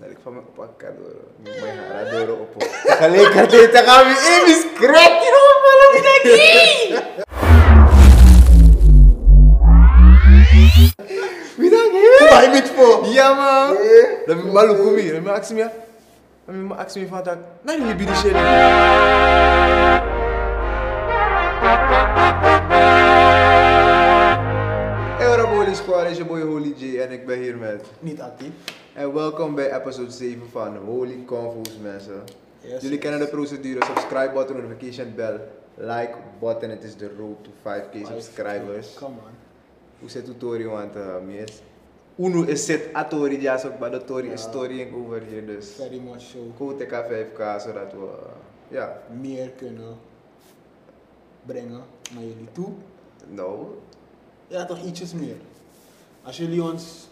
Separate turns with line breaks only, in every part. Nalik fome opo akadoro. Mi mãe adoro opo. Falei que até tá gabi e me escreve não falando daqui. Me dá aqui.
Vai mit po.
Yeah, man.
Yeah.
Let me maluco comigo. Let me ask me. Let me ask me fantak. Não me libi de cheiro. Hey, what up, Eh, Holy Squad? It's your boy Holy J en ik ben hier met
Niet actief.
En welkom bij Eh, episode 7 van Holy Convo's mensen.
Yes,
Jullie
yes.
kennen de procedure, subscribe button, notification bell, like button, het is de road to 5k subscribers.
Come on.
Hoe zit de Tori want uh, mees? Uno is zit a Tori, ja, zo, maar de Tori is
Ja.
Tori over hier dus.
Very much so.
Goed, ik ga 5k zodat we, uh, ja,
Meer kunnen brengen naar jullie toe.
nou,
Ja, toch ietsjes meer. Als jullie ons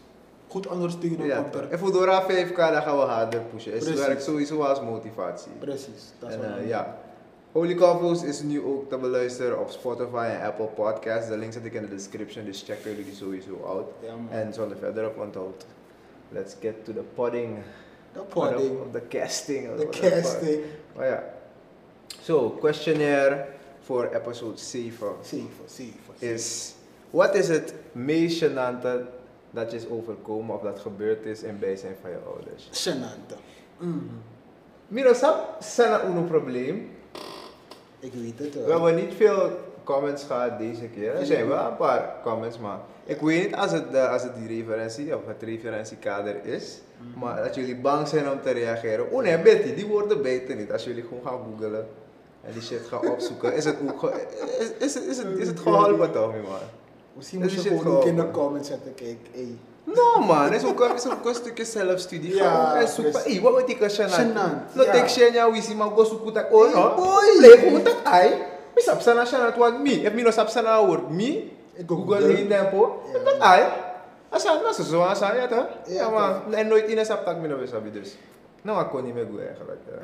goed ondersteunen,
ja.
komt er...
En voor Dora 5k dan gaan we harder pushen. Het
Precies.
werkt sowieso als motivatie.
Precies, dat is
En
wat
eh,
we-
ja, Holy Convo's is nu ook te beluisteren op Spotify en Apple Podcasts. De link zet ik in de description, dus checken jullie die sowieso out.
Ja, man.
En zonder verder op onthoud. Let's get to the podding.
De
Of,
podding.
the casting.
De
whatever.
casting.
Oh ja. So, questionnaire voor episode 7
Zeven, zeven.
is... Wat is het meest gênante dat je is overkomen of dat gebeurd is in bijzijn van je ouders?
Genante. Mm.
Mirosap, sana uno probleem.
Ik weet het
We
wel.
hebben niet veel comments gehad deze keer. Er zijn wel een paar comments, maar ik weet niet als het, eh, als het die referentie of het referentiekader is. Maar dat jullie bang zijn om te reageren. Oh nee, Betty, die woorden beter niet. Als jullie gewoon gaan googlen en die shit gaan opzoeken, is het, ook ge- is, is, is, is, het, is het geholpen toch, niet, man?
Misschien
Dus
moet je
je zit
gewoon ook in de
gewoon-
comments zetten, kijk, ey.
No Non, man, is ook, is ook een stukje zelfstudie.
Ja,
Ja, ga zoeken.
precies.
Hey, wat moet ik als je
Gênant,
Lo
ja.
tek je nya wisi maar go zoeken tak oh
Hey,
no.
boy.
Leef moet tak ai. Mi sap sana shana wat mi. If mi no sap sana word mi.
Ik ook
Google
Google.
in tempo.
Ja.
Tak ai. Asa na so so asa ya ta.
Ja,
Ja man, en nooit in sap tak mi no we sabi dus. Nou ik kon niet meer goed eigenlijk. ja.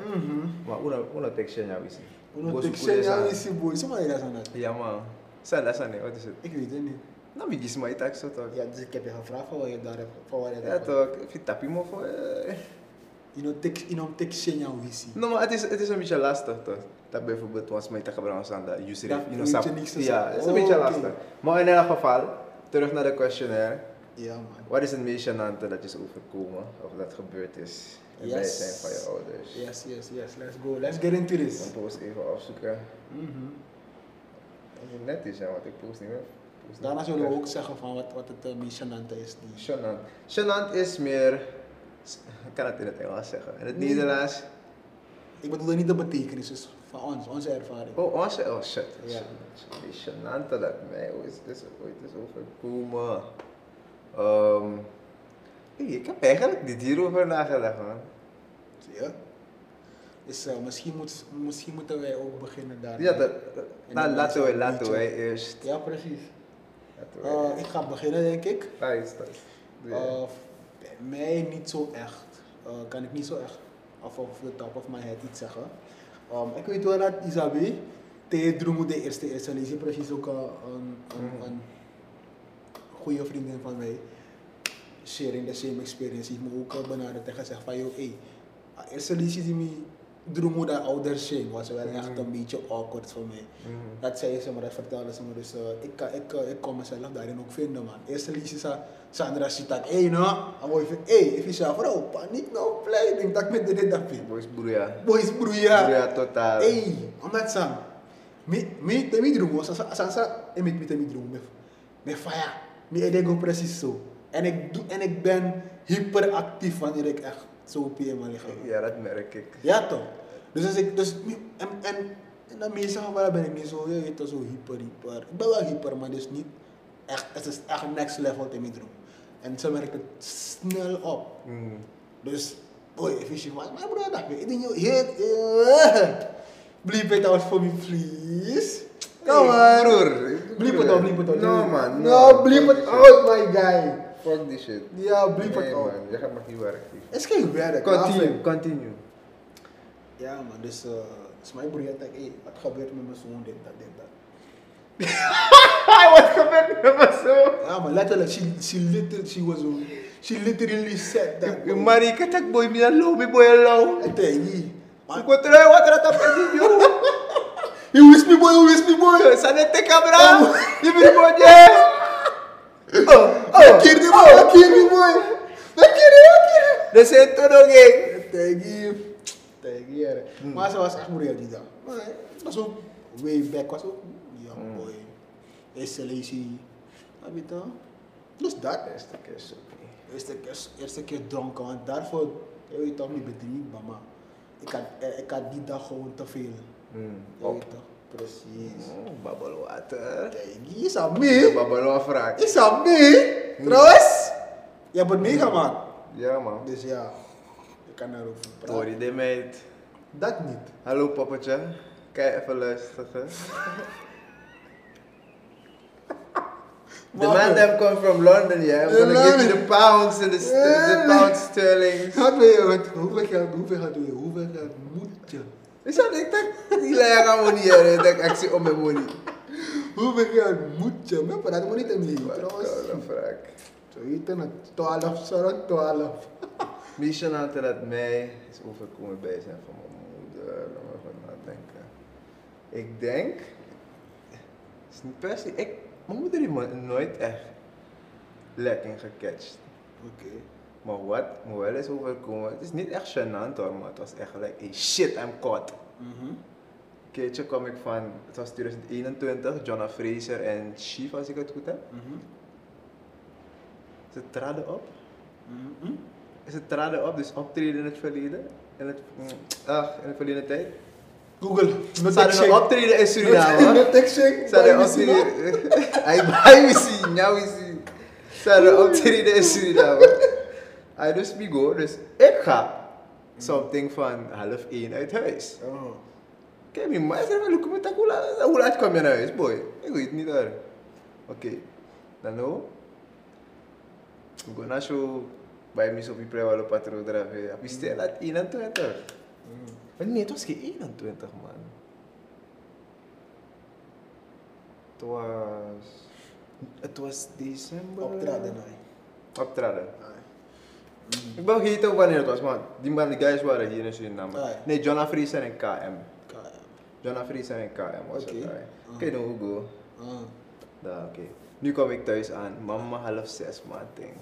Maar una una tek je nya wisi. Go
Omdat ik
zoeken
zeg,
desa.
ja, is die boy. Zomaar je dat aan het.
Ja man. Sada sane, wat is het?
Ik weet het niet.
Nou mi gis maar tak so tak.
Ja, dus ik heb je gevraagd van waar je daar hebt. Van waar je daar
Ja
hebt.
toch, if tap him off. eh.
In een tekst, in een tekst, in jouw visie.
No, maar het is, het is een beetje lastig toch? Dat bijvoorbeeld was mij te gebruiken aan de user.
Dat
you know,
weet
sap-
je niks te
Ja,
zeggen.
het is een
Oh,
beetje
oké.
lastig. Maar in elk geval, terug naar de questionnaire.
Ja, man.
Wat is het meest gênante dat je is overkomen of dat gebeurd is in
Yes.
het bijzijn van je ouders?
Yes, yes, yes. Let's go. Let's get into
Ik
this.
kan post even opzoeken.
Mhm.
Het moet net is, ja, want ik post niet meer. Post
Dus Daarna
niet
zullen we
meer.
ook zeggen van wat, wat het eh, meest gênante is. dus. Die.
Gênant. Gênant is meer... Ik kan het in het Engels zeggen. In het
Nee.
Nederlands...
Ik bedoel niet de betekenis is van ons, onze ervaring.
Oh, onze... Oh, shit.
Ja.
Het is gênant dat mij ooit is, ooit is overkomen. Ehm, hey, ik heb eigenlijk niet hierover nagedacht, man.
Ja. Dus eh, misschien, moet, misschien moeten wij ook beginnen daar.
Ja, dat,
En
nou,
dan
laten
is
wij,
het
laten
liedje.
wij eerst.
Ja, precies.
Laten wij
Eh,
eerst.
ik ga beginnen, denk ik.
Daar is dat. Ja.
Eh, bij mij niet zo echt. Eh, kan ik niet zo echt af of the top of my head iets zeggen. Ehm, ik weet wel dat Isabi Teedroemo de eerste is. En die is precies ook eh, een, een,
Mhm.
een goede vriendin van mij. Sharing the same experience. Die heeft me ook eh, benaderd en gezegd van joh, hey, eh, eerste liedje die me droemo dat ouders zingen was wel echt
Mhm.
een beetje awkward voor mij.
Mhm.
Dat zei ze, maar dat vertelde ze me. Dus eh, ik, kan- ik, eh, ik kon mezelf daarin ook vinden, man. Eerste liedje sa Sandra Sitak. Hé, nou. En mooi van, hé, even zelf, vrouw, paniek nou, blij. Ik denk dat ik met dit dat vind.
Boys broeia.
Boys, broeia.
Broeia totaal.
Hé, omdat ze. Mijn temi droom was, Sansa, en met mijn temi droom. Mijn fire. Mijn idee precies zo. En ik, doe, en ik ben hyperactief wanneer ik echt zo op je man liggen.
Ja, dat merk ik.
Ja toch? Dus als ik, dus, mi- en, en, en dan meestal gevallen ben ik niet zo, je weet toch, zo hyper, hyper. Ik ben wel hyper, maar dus niet echt, het is echt next level in mijn droom. En ze merkt het snel op.
Mhm.
Dus, boy, fishing, maar mijn broer dacht me, ik denk, joh, hit, eh, bleep it out for me, please. Come
Hey,
on.
broer.
Bleep it out, bleep it out.
Eh, No, man,
No,
no.
bleep it out, Oh, my guy.
Fuck die shit.
Ja, bleep
Nee,
it out.
man, je gaat maar hier werken.
Het is geen werk.
Continue, continue.
Ja, maar dus, eh dus mijn broer had hey, wat gebeurt met mijn zoon, dit, dat, dit, dat.
Wat gebeurt er met zo?
Ja, maar letterlijk, she, she, literally, she was, uh, She literally said that.
Yung mari ka boy, minalo, may boy alaw.
I tell you. man.
Encontrei outra tapete
You wish me boy, you wish me boy.
de Sanete Cabral e Brimonje. Oh,
I killed me boy, I killed me boy. I killed him, I
Descento no gay.
killed him. Thank you. Thank you. yeah. Maar ze was echt moeilijk die dag. Maar het was ook way back, was ook young boy. Eerste lazy. Wat weet je? Dus dat.
Esta que é sobre.
Eerste keer, eerste keer dronken, want daarvoor, je weet toch, niet bedriegt, mama. Ik had, eh, ik had die dag gewoon te veel.
Hmm.
Je
Oh.
weet toch? Precies.
Babolo Oh, water.
Kijk, hier is aan mij.
Babolo afraak.
Is aan mij. Trouwens, je hebt het meegemaakt.
Ja man.
Dus ja, ik kan daarover praten.
Tori de meid.
Dat niet.
Hallo papatje. Kijk even luisteren. The
Maar-
man that come from London, yeah. I'm
In
gonna give you
London.
the pounds and the, st- the
Yeah.
pound sterling.
Gaat weer, want hoeveel geld, hoeveel geld doe je? Hoeveel geld moet je?
Is dat ik dat? Die leier gaan we niet hebben. Dat ik actie om mijn money.
Hoeveel geld moet je? Maar praat maar niet in mee, trouwens.
Babolo afraak.
Zo heet het, nou, 12, sorry, 12.
Misha naatte dat mij is overkomen bij zijn van mijn moeder. Laat me even nadenken. Ik denk. Het is niet per se. Ik, mijn moeder heeft me nooit echt lekker gecatcht.
Oké.
Maar wat me wel is overkomen. Het is niet echt gênant hoor, maar het was echt like, hey shit, I'm caught. Een keertje kwam ik van. Het was 2021, Jonna Fraser en Chief, als ik het goed heb. Ze traden op. Ze traden op, dus optreden in het verleden. In het, mm, ach, in het verleden tijd.
Google, no
Ze hadden een optreden in Suriname.
No tech shake.
Ze hadden een optreden. Hij bij zien, nou is hij. Ze hadden een optreden in Suriname. Hij dus me go, dus ik ga something van half één uit huis.
Oh.
Kijk, mijn ma zei, "Look, moet ik- hoe laat- hoe laat kwam je naar huis, boy? Ik weet niet hoor. Oké, dan nou. We gaan naar show bij mij op je prijwale patroon draven. Heb je stel dat 21? Maar nee, het was geen 21 e man. Het was... Het was e december...
Optraden,
Optraden. Ik ben vergeten wanneer het was, maar die man, die guys waren hier in Suriname.
Ah, ja.
Nee, John Friesen en KM.
nee.
John Friesen en KM was het
Oké.
daar.
Ah.
Oké, nou, we go. Da, oké. Nu kom ik thuis aan. Mama half zes, man, ding.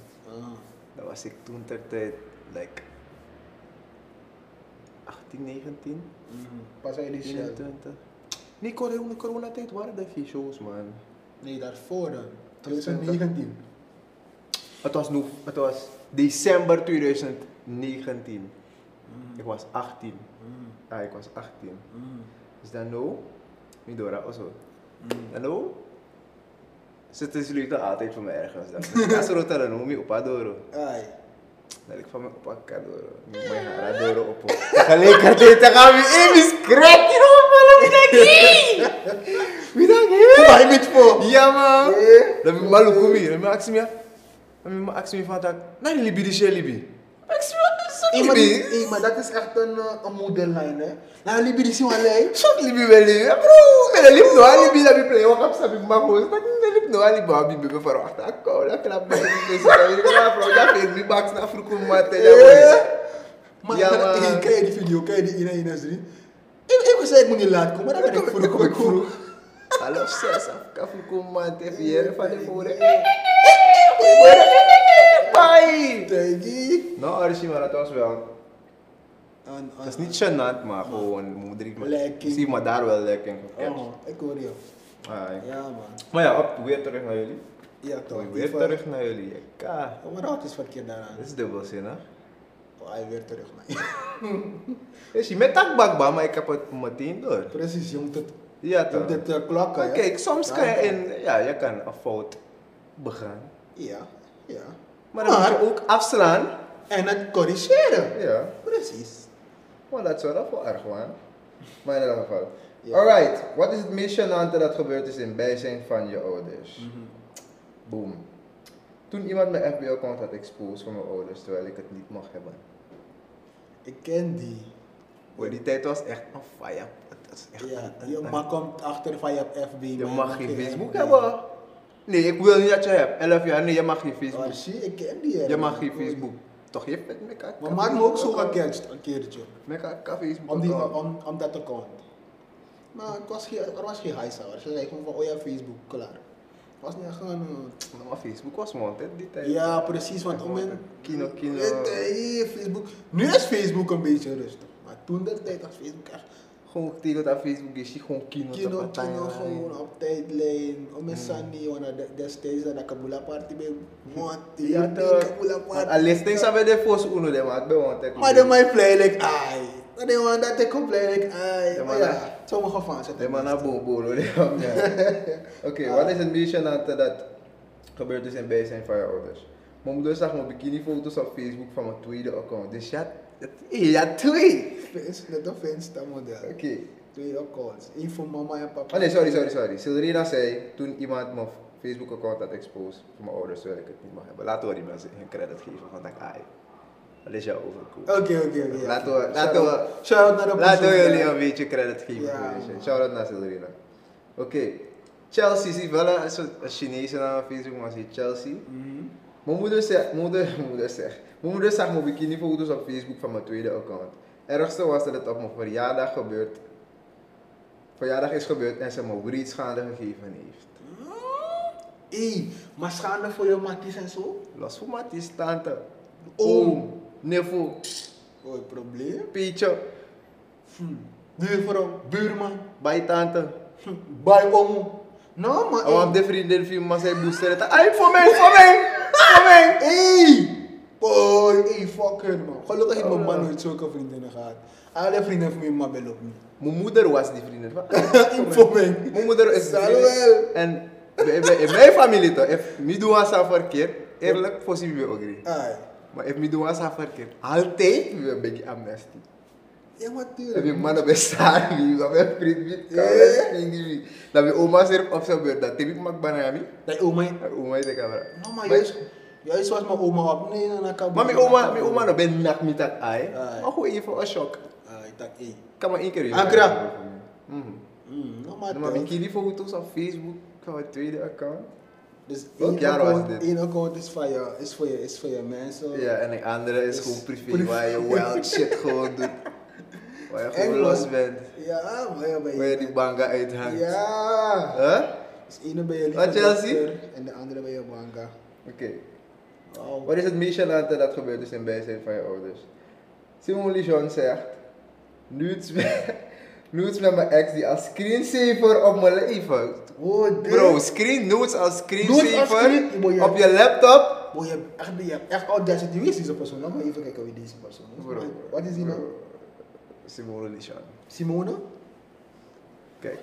Dat was ik toen ter tijd, like... 18, 19?
Pas uit die shell.
21. Nee, corona, coronatijd waren er geen shows, man.
Nee, daarvoor dan. 2019.
Het was, nog, het was december 2019. Ik was 18. Ja, ik was 18. Dus dan nou, Midora, oh, also. Dan nou, zitten jullie toch altijd voor mij ergens. Dan Dat is rota dan noem je opa Doro.
Ai.
Dat ik van mijn opa ka Doro. Noem Mijn hara Doro op. Alleen kan dit gaan we in is crack hier op, man. Wie dan hier?
Waar je het voor?
Ja man.
Eh?
Dan ben ik malu kumi. Dan ben ik me. Dan ben ik me van dat. Nee, Libi, die shell Libi.
Hey, maar,
Libi.
hey, maar dat is echt een, eh, een modellijn, hè? Nou, Libi, die zien we alleen.
Sok Libi wel Libi. Ja, Bro, met de lip no aan Libi dat ik play. Wat heb ik maar hoes. Maar de lip no aan Libi. Maar Libi bevaar wacht. Dat kou. Dat knap. Dat is een Dat is een bak. Dat vroeg om maar te
Eh?
doen.
Maar
Ja,
ja,
maar-
kijk je die video, kijk je die Ina Ina's drie. Ik, ik zei ik moet niet laat komen, maar dan ben ik vroeg, kom ik vroeg.
Half zes. Dat vroeg om maar te vieren van de voren. Bye.
Tegi.
Nou, Archie, maar dat was wel.
En- en-
Dat Oh, is niet gênant, maar gewoon moeder. ik-
Lekker.
Zie maar daar wel lekker.
Oh, ik hoor jou.
Ai.
Ja, man.
Maar ja, op, weer terug naar jullie.
Ja, toch.
weer
Even-
terug naar jullie. Ja,
Oh, Maar dat is verkeerd daaraan.
dat is dubbelzinnig.
Oh, hij weer terug naar
Dus je met dat bakba, maar ik heb het meteen door.
Precies, je moet het,
Ja
je
toch?
moet het eh, klokken.
Maar
ja.
kijk, soms kan je
Ja.
in, ja, je kan een fout begaan.
Ja, ja.
Maar dan moet je ook afslaan.
En het corrigeren.
Ja,
Precies.
maar dat zou dat voor erg man. Maar in ieder geval.
Ja.
Alright, wat is het meest gênante dat gebeurd is in bijzijn van je ouders?
Hmm.
Boom. Toen iemand mijn FB-account had exposed van mijn ouders, terwijl ik het niet mag hebben.
Ik ken die.
Boy, die tijd was echt een fire. Het is echt
Ja,
een-
je
een-
man komt achter van je FB.
Je
maar
mag geen
FB.
Facebook hebben. Nee, ik wil niet dat je hebt. 11 jaar, nee, je mag geen
Oh,
Facebook.
zie, ik ken die. hè,
Je mag
man.
geen Facebook. ya, Toch, je hebt met me kak.
Maar maak me ook zo gecatcht een keertje.
Met kak, kak Facebook.
Om, die,
account.
om, om dat account. Maar ik was geen, er was geen high sour. Ze zei gewoon van, oh ja, Facebook, klaar. Het was niet echt een... eh,
Maar Facebook was wanted die tijd.
Ja, precies, want om in...
Kino, kino.
Het, eh, Facebook... Nu is Facebook een beetje rustig. Maar toen de tijd was Facebook echt...
Gewoon tegen dat Facebook is, je gewoon kino.
Kino,
tapatijn,
kino,
man.
gewoon op tijdlijn. Om
Hmm.
in Sunny, want dat- destijds dat ik Kabula party bij Mont.
Ja,
Kabula
toch.
party.
Want eh, Al is things hebben de force uno, de man. Ik ben wanted.
Maar de man play like ai. Maar de man dat ik kom play like ai.
De
Maar
man
ja, sommige fans het
De man naar Bombolo, de man. ja. Oké, wat is het meeste dat, dat gebeurd is in bijzijn van je ouders? Mijn moeder zag mijn bikinifoto's op Facebook van mijn tweede account. Dus ja, het, ja twee!
Fans, net een fans dat model.
Oké.
Twee accounts. Eén voor mama en papa.
Oh nee, sorry, sorry, sorry. Silrina zei, toen iemand mijn Facebook-account had exposed voor mijn ouders, wil ik het niet mag hebben. Laten we die mensen hun credit geven, want dan ai. Dat is jouw overkoop.
Oké, oké, oké.
Laten
oké.
we- laten we-
Shout-out- Shout-out naar de
Laten we
persoon.
jullie een beetje credit geven.
Ja,
voor deze.
man.
Shout-out naar Silrina. Oké. Chelsea, zie wel een soort een Chinese naam op Facebook, maar zie Chelsea.
Mhm.
Mijn moeder zegt, moeder, mijn moeder zegt, mijn moeder zag mijn bikinifoto's op Facebook van mijn tweede account. Ergste was dat het op mijn verjaardag gebeurd, verjaardag is gebeurd en ze me breedschade gegeven heeft.
Ey, maar schande voor je matties en zo?
Los voor Matis, tante,
Oom.
oom, nevo,
Oh, het probleem.
pietje,
Hm. Buurvrouw, buurman,
bij tante.
hm. bij oom. Nou, maar...
Oh,
ey.
de vriendin viel maar zij booster het. Ai, voor mij, voor mij, voor mij.
Hey! Boy, hey, fuck hun man. Gelukkig heeft mijn
Oh,
man
ja.
nooit zulke vriendinnen gehad. Alle vrienden van mijn man bellen op me.
Mijn moeder was die vriendin van.
Info me.
Mijn moeder is
Zal
vriendin.
wel.
En bij- bij- in mijn familie toch, if me doen was haar verkeerd, eerlijk, voor ze weer ook niet.
Ai.
Maar if me doen was haar verkeerd, altijd weer ben je amnesty.
Ja, maar
Heb je
tuurlijk.
mannen bestaan, wie dat mijn vriend met
Eh?
kan, wie dat mijn oma zegt op zijn beurt, dat heb ik mak banami.
Dat oma...
Haar oma is de camera.
No, maar juist... Juist was mijn oma op. Nee, nee, nee.
Maar mijn oma, mijn oma nog ben nak met dat ei.
Ai.
Maar gewoon even een shock.
Ai, Ah, tak, eh, hey.
Kan maar één keer weer.
Agra.
Mhm.
Mm, no,
Dan
maar
maak ik
toch.
jullie foto's op Facebook van mijn tweede account.
Dus
Welk
één
jaar was
account,
dit?
één account is van je, is voor je, is voor je mensen.
Ja, en een andere is
Is
gewoon privé,
privé.
waar je wild shit gewoon doet. Waar je gewoon
Eng,
los
man.
bent.
Ja, maar ja, bij
Waar je die banga uithangt.
Ja.
Huh?
Dus ene bij je
Wat, Ah, Chelsea?
liefde en de andere bij je manga.
Oké.
Wow.
Wat is het meest gênante dat gebeurd is in bijzijn van je ouders? Simon Lijon zegt, nudes met, nudes met mijn ex die als screensaver op mijn leven.
Oh, dit.
Bro, screen nudes als
Nudes als
screensaver
screen- Boy, ja.
op je laptop?
Boy, je hebt echt, je hebt echt audacity. Wie is deze persoon? Laat me even kijken wie deze persoon is.
Bro,
Wat is die nou?
bro.
naam?
Simon Lijon.
Simone?
Kijk,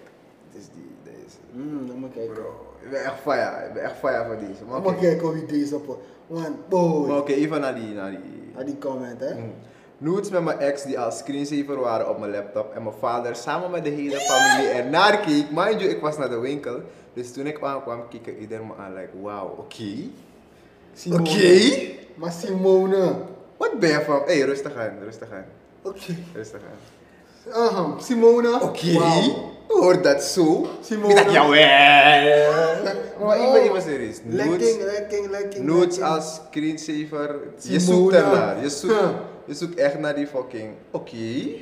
het is die, deze.
Hmm, laat me kijken.
Bro, ik ben echt fire, ik ben echt fire voor deze. Maar
Laat
oké,
me kijken wie deze persoon Man,
Maar
boy.
oké, even naar die, naar die.
Naar die comment, eh? hè.
Mm. Nudes met mijn ex die als screensaver waren op mijn laptop en mijn vader samen met de hele familie ernaar keek. Mind you, ik was naar de winkel, dus toen ik aankwam, keek ieder me aan, like, wauw, oké.
Simone.
Oké.
Maar Simone.
Wat ben je van? Hé, hey, rustig aan, rustig aan,
Oké.
rustig aan.
Aha, Simone.
Oké,
Wauw.
hoor dat zo?
Simone.
Ik dacht, jawel. Maar ik ben
Wow.
even serieus. Nudes,
Lekking, lekking, lekking.
nudes
lekking.
als screensaver, je
Simone.
zoekt ernaar. Je zoekt,
Huh.
je zoekt echt naar die fucking, oké,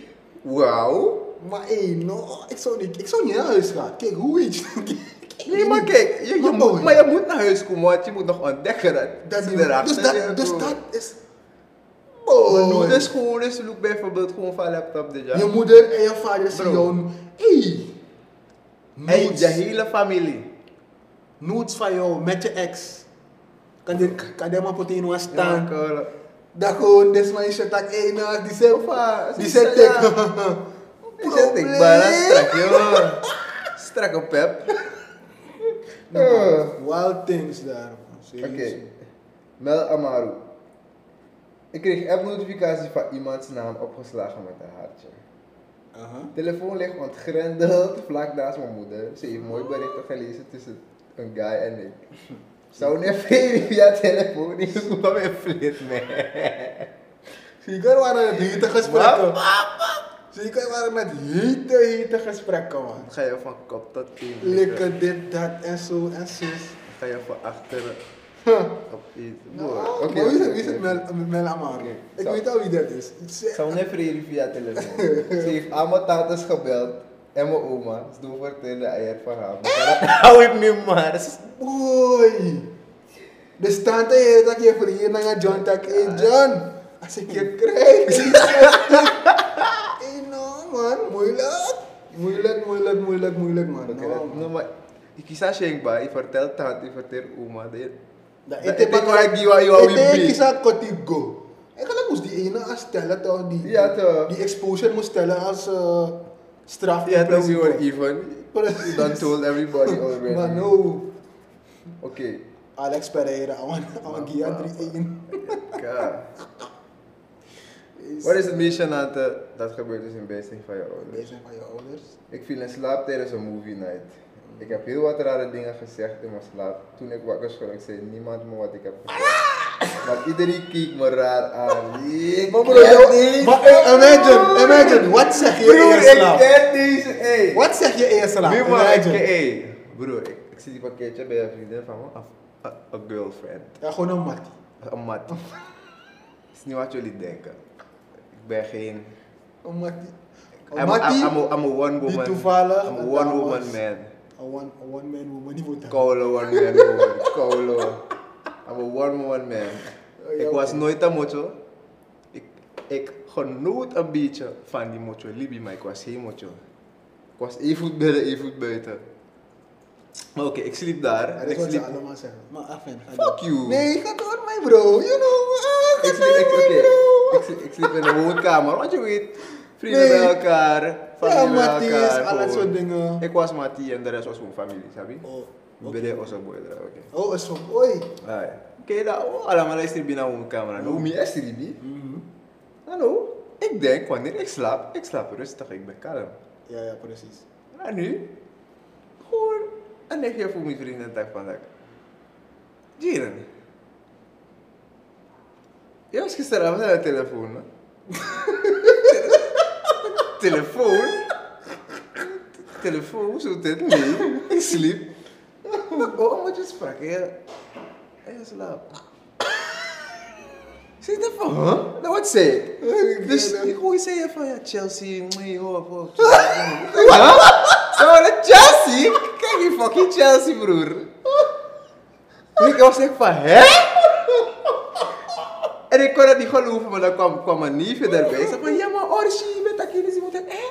wauw.
Maar hé, no, ik zou niet, ik zou niet naar huis gaan. Kijk, hoe iets.
Nee, maar kijk, je, je
Maar
moet,
boy.
maar je moet naar huis komen, want je moet nog ontdekken dat,
Dat
ze
is
erachter
dus, dat,
zijn,
dus
bro.
dat is.
Maar
Boy.
doe de school, dus look bijvoorbeeld gewoon van laptop dit jaar.
Je moeder en je vader zien
Bro.
jou. Hey.
En
Noods,
je hele familie.
noods van jou met je ex. Kan je kan je maar meteen aan staan.
Ja, maar-
dat gewoon des man is dat één na die zegt
Opa,
die
ze
zegt
zei,
ik.
Je zegt, ik ben aan strak, joh. Strakke pep. Eh.
Nou, Wild things daar. man.
Oké.
Serieus.
Mel Amaru. Ik kreeg app-notificatie van iemands naam opgeslagen met een hartje.
Aha.
Telefoon ligt ontgrendeld vlak naast mijn moeder. Ze heeft mooi berichten gelezen tussen een guy en ik. Zou niet veel via telefoon niet goed op mijn flit, man.
Zeker waren het hete
Wap,
gesprekken. Zeker waren het hete, hete gesprekken, man.
Dan ga je van kop tot teen.
Likken dit, dat en zo en zo.
ga je van achteren op eten. Mooi.
Nou,
Oké,
maar wie is
oké,
het- wie is het
oké.
Mel- eh, Mel Amar?
Oké,
Ik
zo.
weet al wie dat is. Het is-
Ze heeft net vrede via telefoon. Ze heeft aan mijn tantes gebeld en mijn oma. Ze doen vertellen de eier van haar. Maar dat hou ik niet maar. Ze is-
Boy! Dus tante heeft dat je vriendin naar John tak. Hé John, als ik je krijg. Hé no man, moeilijk. Nou, Moeilijk, moeilijk, moeilijk, moeilijk man.
Oké,
No,
dat-
man.
no, maar ik kies haar schenkbaar. Ik vertel tante, ik vertel oma. Dat je-
Dat
dat
ete
ik
pak-
waar ik die waar je wou
Ete
in
is
bed.
dat Kotigo. Eigenlijk moest die ene als stellen toch? Die,
Ja, toch.
Die exposure moest stellen als eh, straf.
Ja,
voor
dat is
Kotigo.
your even. You done told everybody already.
Maar no.
Oké.
Alex Pereira, Awan Gia 3-1.
God. Wat is het meest gênante dat gebeurd is in bijzijn van je ouders?
Bezig van je ouders.
Ik viel in slaap tijdens een movie night. Ik heb heel wat rare dingen gezegd in mijn slaap. Toen ik wakker schrok, ik zei niemand me wat ik heb gezegd. Maar iedereen keek me raar aan. Ik
Maar
ken
broer,
deze-
maar eh, imagine, imagine, wat zeg je
Broer,
eerst
ik
nou?
ken deze. Hey.
Wat zeg je eerst nou?
Nu maar, ik
Imagine.
hey. Broer, ik, ik zie die pakketje bij een vriendin van me. Een- een- Een girlfriend.
Ja, gewoon een mattie.
Een mat. is niet wat jullie denken. Ik ben geen...
Een mattie. Een
I'm, I'm,
mattie,
I'm, a, I'm a one
die
woman.
toevallig...
I'm a
een
one
dame
woman
was.
man.
Een one- een one-man woman, die wordt daar.
Koude one man woman. Koude. I'm a one woman man.
Oh, ja,
Ik was
oké.
nooit een mocho. Ik, ik genoot een beetje van die mocho Libi, maar ik was geen mocho. Ik was één voet binnen, één voet buiten. Maar oké, ik sliep daar.
Dat
En
is
ik
wat ze
sliep...
allemaal zeggen. Maar af en aan.
Fuck you.
Nee, ga door mij bro. You know, ah,
Ik
ga
sliep,
door
ik,
mij
oké,
bro.
ik, sliep, ik sliep in de woonkamer, want je weet, vrienden
Nee.
bij elkaar,
Ja,
familie bij
matties,
elkaar.
al
gewoon.
dat soort dingen.
Ik was Mati en de rest was gewoon familie, sabi?
Oh, oké.
Bede was een boy daar, oké.
Oh, is van, oei.
Alright. Oké, dat, oh, allemaal is er binnen woonkamer. Nou, mij is er niet. Hallo, ik denk wanneer ik slaap, ik slaap rustig, ik ben kalm.
Ja, ja, precies.
En nu, gewoon een nichtje voor mijn vrienden dag van dag. Jiren. Je was gisteravond aan de telefoon, hè? telefoon? telefoon, hoezo dit? Nee, ik sliep. Oh, moet je sprak, hè? Hij slaapt. Zeg dat van, huh? Nou, wat zei ik? Dus ik hoor zei je van, ja, Chelsea, nee, hoor, hoor. Zo, dat Chelsea? Kijk je fucking Chelsea, broer. En ik was echt van, hè? En ik kon dat niet geloven, maar dan kwam, kwam een neefje erbij. Ze van, ja, maar Orsi, je bent daar kinderen, ze moeten, hè?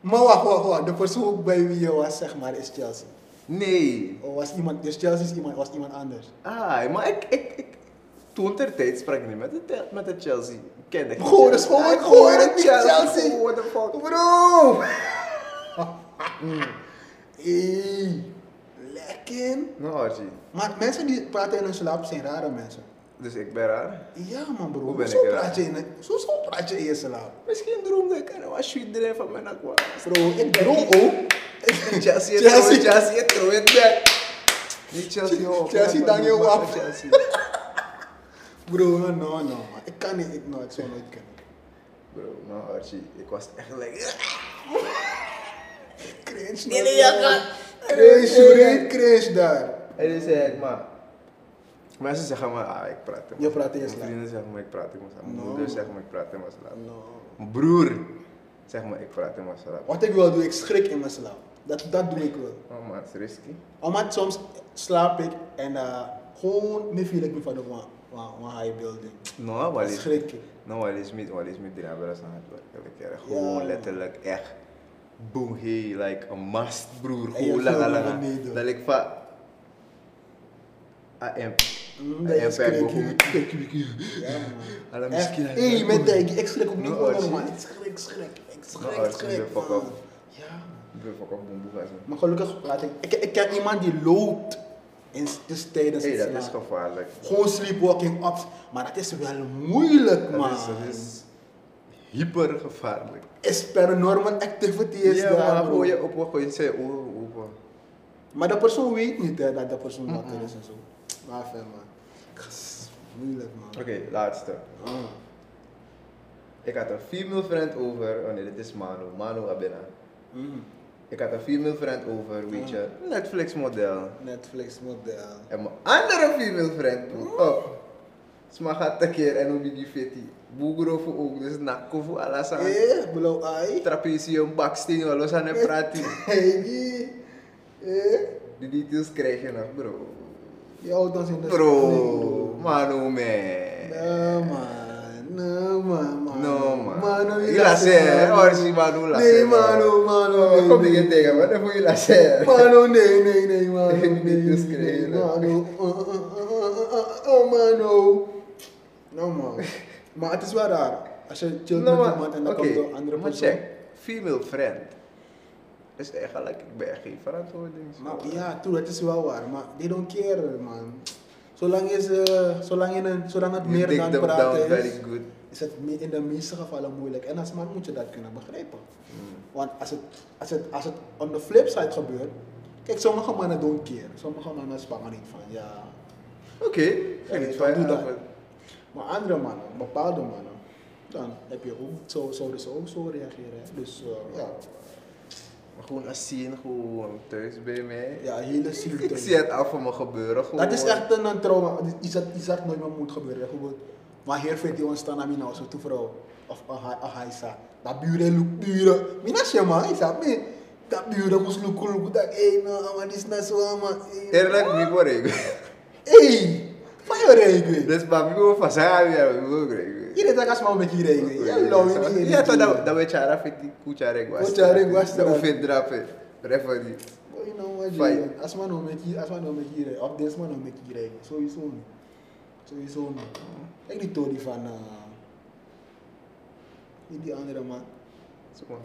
Maar wacht, wacht, wacht. De persoon bij wie je was, zeg maar, is Chelsea.
Nee.
Of was iemand, dus Chelsea is iemand, was iemand anders.
Ah, maar ik, ik, ik toen ter tijd sprak ik niet met de, tel- met de Chelsea. Ik kende geen
Goh, dat is
Chelsea.
gewoon-
Ah,
gewoon het niet Chelsea.
Oh, what the fuck.
Bro!
Mm.
Hey, lekker.
Nou, Orsi.
Maar mensen die praten in hun slaap zijn rare mensen.
Dus ik ben raar.
Ja man bro,
Hoe ben
zo,
ik raar?
praat je in, het- zo, zo praat je in je slaap.
Misschien droomde ik en was iedereen van mijn aqua.
Bro, ik droom ook.
Chelsea,
Chelsea.
Chelsea, Chelsea, throw it back. Niet Chelsea, hoor.
Chelsea,
Vandaag
dank je
was het
wel.
Chelsea.
Bro, no, no, no. man. Ik kan niet, ik, no, ik zou nooit kunnen.
Bro, nou Archie, ik was echt lekker.
Cringe man. Cringe, breed cringe daar.
En toen zei ik, maar... Mensen zeggen maar, ah, ik praat in
Je praat Nou. in je slaap.
Mijn vrienden zeggen maar, ik praat in mijn slaap. Mijn
No.
moeder zegt maar, ik praat in mijn slaap.
No.
Mijn broer zegt maar, ik praat in mijn slaap.
Wat ik wil doen, ik schrik in mijn slaap. Dat, dat doe ik wel.
Oh, maar het is risky.
Omdat soms slaap ik en eh, gewoon niet viel ik me van de wa- wa- wa- high building.
Nou, wat
Dat
is...
schrik ik.
Nou, wat is met, wat is met die hebben aan het werk? elke keer.
Ja,
Gewoon
man.
letterlijk echt. Boom, hey, like een mast, broer.
En je
Gewoon lange,
viel naar
lange.
beneden.
Dat ik Ah, van... AM.
Mm, dat
AM
is
vijf
schrik.
begon.
ik. Ja, man.
Alarm is
Echt,
klaar.
hé, met denk ik schrik ook niet
Nou,
gewoon
Archie.
normaal. Ik schrik, schrik, ik schrik,
Archie,
schrik,
fuck
man.
up.
Ja, man.
Ik ben fucking boem, boem, zo.
Maar gelukkig praat ik. Ik, ik ken iemand die loopt in s- dus tijdens
Hey,
het
dat is
slapen.
gevaarlijk.
Gewoon sleepwalking op. Maar dat is wel moeilijk,
Dat
man.
is, dat is hyper gevaarlijk.
Is paranormal activity is
ja,
daar,
maar
bro.
gooi je op, gooi je zijn ogen open.
Maar de persoon weet niet hè, dat de persoon wakker is en zo. Maar ver man. Gas, Moeilijk
Oké,
man.
laatste.
Ah.
Ik had een female friend over. Oh nee, dit is Manu. Manu Abena.
Mm.
Ik had een female friend over, weet je.
Ah.
Netflix model.
Netflix model.
En mijn andere female friend, broer. Oh. Sma gaat tekeer en hoe die fitty. Boegro voor ook, dus nakko voor alles aan.
Eh, below eye.
Trapezium, baksteen, alles aan het praten.
Hey, eh.
De details krijg je nog, bro.
Je houdt ons in de
Bro, man, oh man.
Nee, man. Nee, man, man.
No, man.
Mano,
je laat zeggen, hoor, zie, mano, laat
Nee,
zeggen.
mano, mano.
Oh,
nee,
Kom
nee.
ik je tegen, maar dan moet je laat zeggen.
Mano, nee, nee, nee, mano.
Ik
Nee,
heb niet
nee, nee,
geschreven.
mano. Oh, oh, oh, oh, oh, oh, oh, mano. No, man. Maar het is wel raar. Als je chillt
Nou,
met
maar-
iemand en dan
oké,
komt er een andere
maar
persoon.
check. Female friend. Is eigenlijk, ik ben geen verantwoording.
Maar ja, true, het is wel waar. Maar they don't care, man. Zolang, is, eh, zolang, in een, zolang het
You
meer
dig
dan
them down
praten is,
very good.
is het me- in de meeste gevallen moeilijk. En als man moet je dat kunnen begrijpen.
Hmm.
Want als het, als, het, als het on the flip side gebeurt... Kijk, sommige mannen don't care. Sommige mannen spannen niet van, ja...
Oké,
Ja,
vind ik
dus wat doe
fijn.
dat? Maar andere mannen, bepaalde mannen... Dan heb je ook, zo, zouden ze ook zo reageren. hè. Dus eh, ja,
Maar Gewoon een scene, gewoon thuis bij mij.
ja, hele ziekte.
Ik zie het af van me gebeuren gewoon.
Dat is echt een, een trauma. Dit- Iets dat, iets dat nooit meer moet gebeuren. Bijvoorbeeld, maar hier vindt hij ons dan aan mijn auto toe vrouw. Of een hai- een haisa. Dat buren look buren. Mijn als je man, ik zeg me. Dat buren moest look look. Dat hé, nou, maar dit is net zo, man.
Eerlijk, niet voor ik.
Hé, van je regen.
Dus maar ik wil van zijn aan weer, ik wil ik.
Hier is dat als man met je regen. Ja, lauw in die
Ja, toch dat dat we chara fit die kuchare gwas.
Kuchare gwas.
Dat hoef je drapen. Referee.
You know what,
Fine.
Jay, Als man nou met je, als man nou met je regen. Of deze man nou met je regen. Sowieso niet. Sowieso niet. Ik die Tony van... eh, wie die andere man.
Zo man.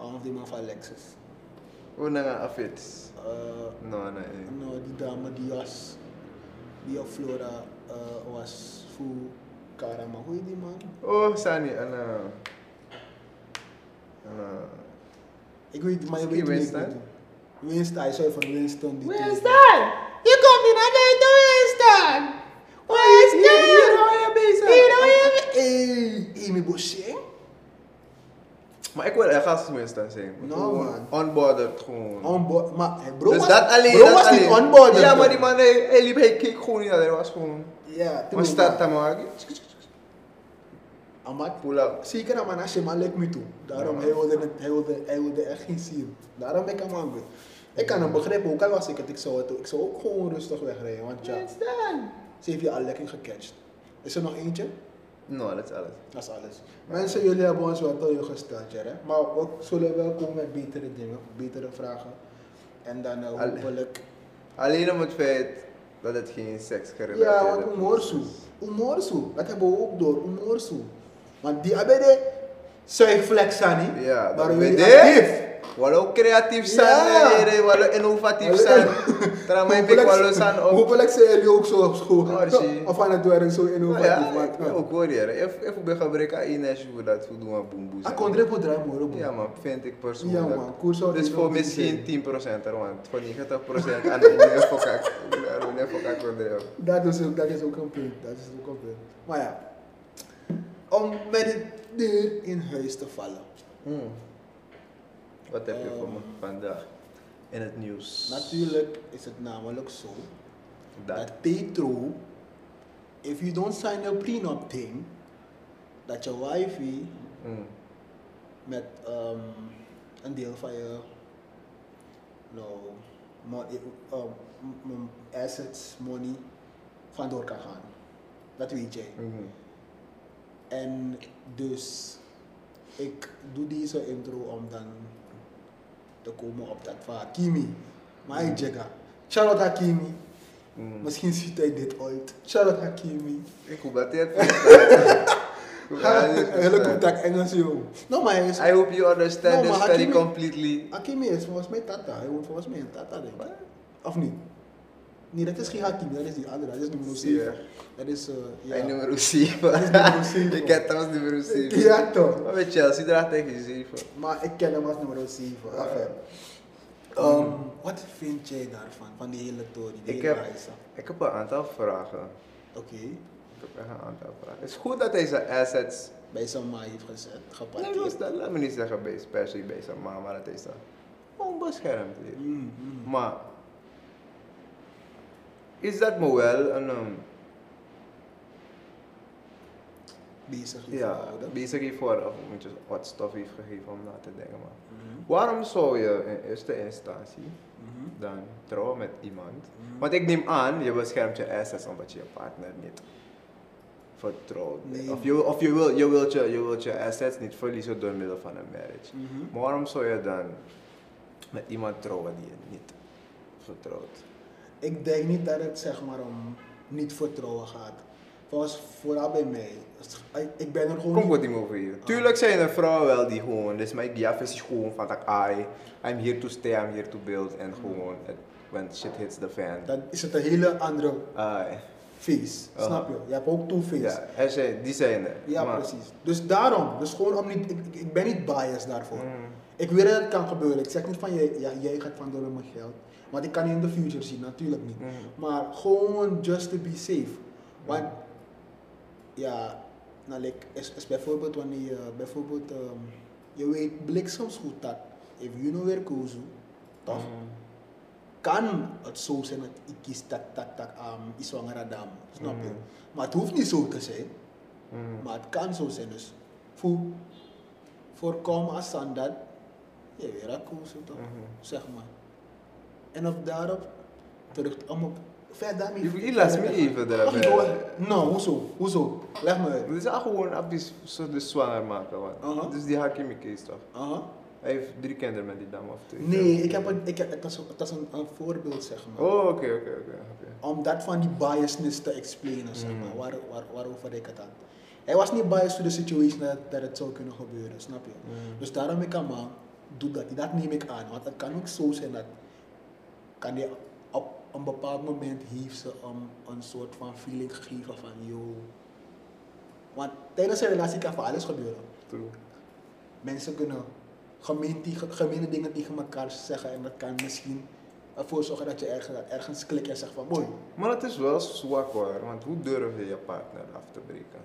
Aan of die man van Lexus.
Hoe dan gaan afit?
Eh,
No, nee.
nou, die dame die was, die op Flora eh, was voor Karama. Hoe heet die man?
Oh, Sani, en eh en, eh,
Ik weet, maar je
Misschien
weet wie ik
Winston?
bedoel. Winston, hij zei van Winston. Die
Winston! Je komt hier naar buiten, Winston! Winston!
Hier hou je bezig.
Hier hou je
Hey, Amy Boucher?
Maar ik wil echt als minstens zijn.
No,
Gewoon
man.
Unbothered gewoon.
On board. Maar hey, bro
dus
was,
dat alleen.
bro
dat
was
alleen.
niet on board.
Ja, maar die man, hij, hij liep, hij keek gewoon niet naar. Hij was gewoon.
Ja,
Maar staat daar maar.
Amat,
Pull up.
Zeker een man als je man lijkt me toe. Daarom, hij wilde, het, hij, wilde, hij wilde echt geen zien. Daarom ben ik hem angry. Ik kan hem begrijpen, ook al was ik het, ik zou, het, ik zou ook gewoon rustig wegrijden. Want ja,
Winston!
ze heeft je al lekker gecatcht. Is er nog eentje?
No, dat is alles.
Dat is alles. Mensen, jullie hebben ons wel tegen gesteld, ja, hè? Maar we zullen wel komen met betere dingen, betere vragen. En dan eh,
Alle-
hopelijk...
Alleen om het feit dat het geen seks gerelateerd
Ja, want umorsu. Umorsu. Dat hebben we ook door. Umorsu. Want die hebben de zuigflex aan, hè?
Ja,
maar
dat
we
weet
actief.
je. Walau creatief zijn,
Ja.
yeah. walau innovatief
Walau-
zijn. Tramai ik
Hopelijk-
walau zijn op.
Hopelijk zijn jullie ook zo op school.
Orsi.
Of aan het werk zo
Nou
innovatief.
Ja,
maar-
ik ook hoor je. Even bij gebrek aan energie voor dat voldoen aan boemboes.
Ik kon dribbel draaien, hoor.
Ja man, vind ik
Ja,
persoonlijk.
man. Koers zou
Dus
die
voor
nog niet
misschien
zijn.
10% er, want voor 90% aan de eh, meneer Fokak. Meneer Fokak wil er
Dat is ook, dat is ook een punt. Dat is ook een punt. Maar ja. Om met de deur in huis te vallen.
Hmm. Wat heb je voor me
Ehm.
vandaag in het nieuws?
Natuurlijk is het namelijk zo
Dat.
dat Petro, if you don't sign a prenup thing, dat je wifi
Hmm.
met ehm, een deel van je nou, mon- eh, um, m- m- assets, money vandoor kan gaan. Dat weet jij.
Mhm.
En dus ik doe deze intro om dan te komen op dat van Hakimi. Maar ik jega. Shout out Hakimi.
Mhm.
Misschien ziet hij dit ooit. Shout out Hakimi.
Ik hoop dat hij het verstaan. Ik hoop dat hij het
Eigenlijk
verstaan.
moet ik Engels joh. Nou maar hij is...
I hope you understand
No,
this
maar
very
Hakimi-
completely.
Hakimi is volgens mij Tata. Hij woont volgens mij in Tata, denk ik. Of niet? Nee, dat is geen Hakimi, dat is die andere. Dat is nummer
Zie je.
7. Dat is... eh, ja.
Hij nummer 7.
is nummer zeven.
Ik ken trouwens nummer 7.
Ja, toch.
Maar bij Chelsea draagt hij geen 7.
Maar ik ken hem als nummer 7. Enfin. Ehm, Wat vind jij daarvan, van die hele tory, die
Mm. Ik
hele
heb-
reis?
Ik heb een aantal vragen.
Oké,
Ik heb echt een aantal vragen. Het is goed dat hij zijn assets.
bij Samai heeft gezet,
Nee,
geparkeerd.
dat- laat me niet zeggen bij, per se bij zijn mama, maar dat is dan. Gewoon beschermd weer.
Mm, mm.
Maar is dat me wel een ehm,
Bezig je
ja,
verhouden.
bezig heeft voor of moet je wat stof heeft gegeven om na te denken. Maar
Mm-hmm.
waarom zou je in eerste instantie
Mhm.
dan trouwen met iemand? Want ik neem aan, je beschermt je assets omdat je je partner niet vertrouwt.
Nee.
Of, je, of je, wil, je, wilt je, je wilt je assets niet verliezen door middel van een marriage.
Mhm.
Maar waarom zou je dan met iemand trouwen die je niet vertrouwt?
Ik denk niet dat het zeg maar om niet vertrouwen gaat. Volgens vooral bij mij. Als- ik- Ik ben er gewoon
Kom
niet-
goed die over hier. Tuurlijk zijn er vrouwen wel die gewoon, dus mijn gaf is gewoon van dat I, I'm here to stay, I'm here to build en gewoon, het- when shit hits the fan.
Dan is het een hele andere
Ai.
face.
Aha.
Snap je? Je hebt ook two face.
Ja, er zijn, die zijn er.
Ja,
maar-
precies. Dus daarom, dus gewoon om niet, ik, ik- ik ben niet biased daarvoor.
Mm.
Ik weet dat het kan gebeuren. Ik zeg niet van jij, ja, jij gaat van door met mijn geld. Want ik kan niet in de future zien, natuurlijk niet.
Mm.
Maar gewoon just to be safe. Want ja, nou, like, is, is bijvoorbeeld wanneer je bijvoorbeeld, ehm, je weet bliksems goed dat, if you know where Kozu, toch?
Mm.
kan het zo zijn dat ik kies dat, dat, dat, um, is zwangere dame. Snap je?
Mm.
Maar het hoeft niet zo te zijn.
Mm.
Maar het kan zo zijn. Dus voor, voorkom als aan dat je weer gaat kozen, toch?
Mhm.
Zeg maar. En of daarop terug om op verder daarmee.
Je- je laat me
verder
even
te gaan.
daarbij.
Ach, joh, Nou, hoezo? Hoezo? Leg me uit.
Het is eigenlijk gewoon abis zo dus zwanger maken, man.
Aha.
Dus die Hakimi Kees toch?
Aha.
Hij heeft drie kinderen met die dame of twee.
Nee, ik heb een, ik heb, het was, het was een, een voorbeeld, zeg maar.
Oh, oké, oké, oké, oké.
Om dat van die biasness te explainen, zeg
Mm.
maar. Waar, waar, waarover ik het had. Hij was niet biased to the situation dat, dat het zou kunnen gebeuren, snap je?
Mm.
Dus daarom ik aan man, doe dat. Dat neem ik aan. Want het kan ook zo zijn dat kan die op een bepaald moment heeft ze om een soort van feeling gegeven van yo. Want tijdens een relatie kan van alles gebeuren.
True.
Mensen kunnen gemeen tegen- gemene dingen tegen elkaar zeggen en dat kan misschien ervoor zorgen dat je ergens, ergens klikt en zegt van mooi.
Maar het is wel zwak hoor, want hoe durf je je partner af te breken?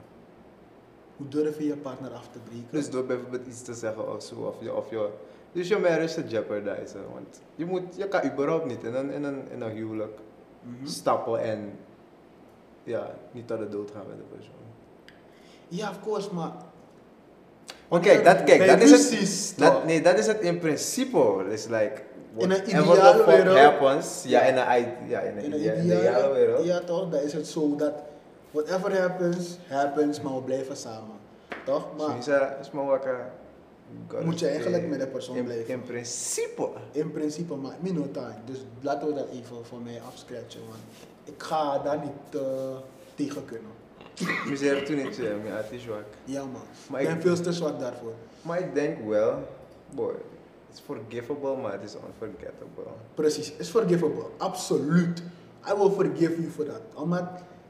Hoe durf je je partner af te breken?
Dus door bijvoorbeeld iets te zeggen of zo, of je, of je, dus je marriage te jeopardizen. Want je, moet, je kan überhaupt niet in een, in een, in een huwelijk
Mhm.
stappen en ja, niet tot de dood gaan met de persoon.
Ja, of course, maar
Want kijk, dat, kijk,
Bij
dat is
ruzies
het. Dat,
toch?
nee, dat is het in principe hoor. It's like.
In een
whatever
ideale
the fuck
wereld.
happens. Ja, in een, i- ja, in een,
In
idea-
een
in een ideale wereld.
Ja toch, dan is het zo dat whatever happens, happens, maar we blijven samen. Toch? Maar
Sumisa, is maar wakker. God
Moet je
is
eigenlijk
day.
met de persoon
eh, in,
blijven.
In principe.
in principe maakt me no time. Dus laten we dat even voor mij afscratchen. Want ik ga daar niet eh, tegen kunnen.
Misschien heb ik toen niet gezegd, maar het is zwak.
Ja man.
Maar
ik
ik-
ben veel te zwak daarvoor.
Maar ik denk wel, boy, it's forgivable, maar het is unforgettable.
Precies, is forgivable. Absoluut. I will forgive you for that. Omdat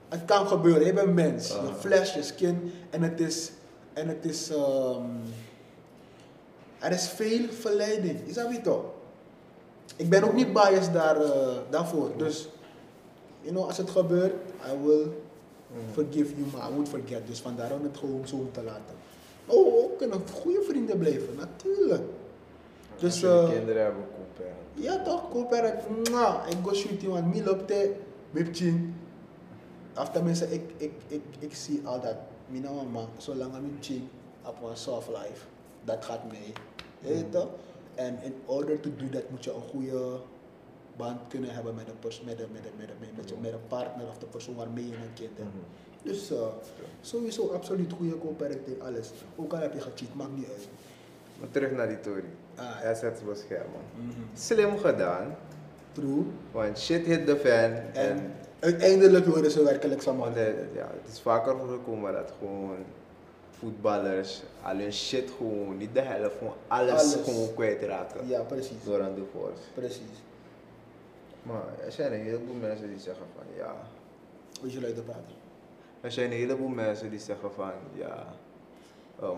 het kan gebeuren. Je bent mens. Je
Ah.
flesh, je skin. En het is. En het is. ehm, er is veel verleiding. Is dat niet toch? Ik ben ook niet biased daar, eh, daarvoor.
Mm.
Dus, you know, als het gebeurt, I will
Mm.
forgive you, maar I won't forget. Dus vandaar om het gewoon zo te laten. Oh, we kunnen goede vrienden blijven, natuurlijk. Dus,
Als jullie
eh,
kinderen hebben koep, ja.
ja toch, co-parent. mwah, Ik go shooting, want me loopt hij, mipchin. After mensen, ik, ik, ik, ik zie al dat. Mijn mama, zolang ik mipchin op een soft life, dat gaat mee. Je weet toch? En in order to do that moet je een goede band kunnen hebben met een, pers- met een, met een, met een, met een, met een partner of de persoon waarmee je een kind hebt. Dus eh, sowieso absoluut goede co-parent in alles. Ook al heb je gecheat, maakt niet uit.
Maar terug naar die Tory.
Ah.
Assets beschermen. Slim gedaan,
True.
want shit hit the fan. en Oh,
En uiteindelijk worden ze werkelijk samen.
Want het, ja, het is vaker voorgekomen dat gewoon voetballers al hun shit gewoon, niet de helft, gewoon alles,
Alles.
gewoon kwijtraken
Ja, precies.
door aan de force.
Precies.
Maar er zijn een heleboel mensen die zeggen van ja.
Hoe je luider praten.
Er zijn een heleboel mensen die zeggen van ja, ehm,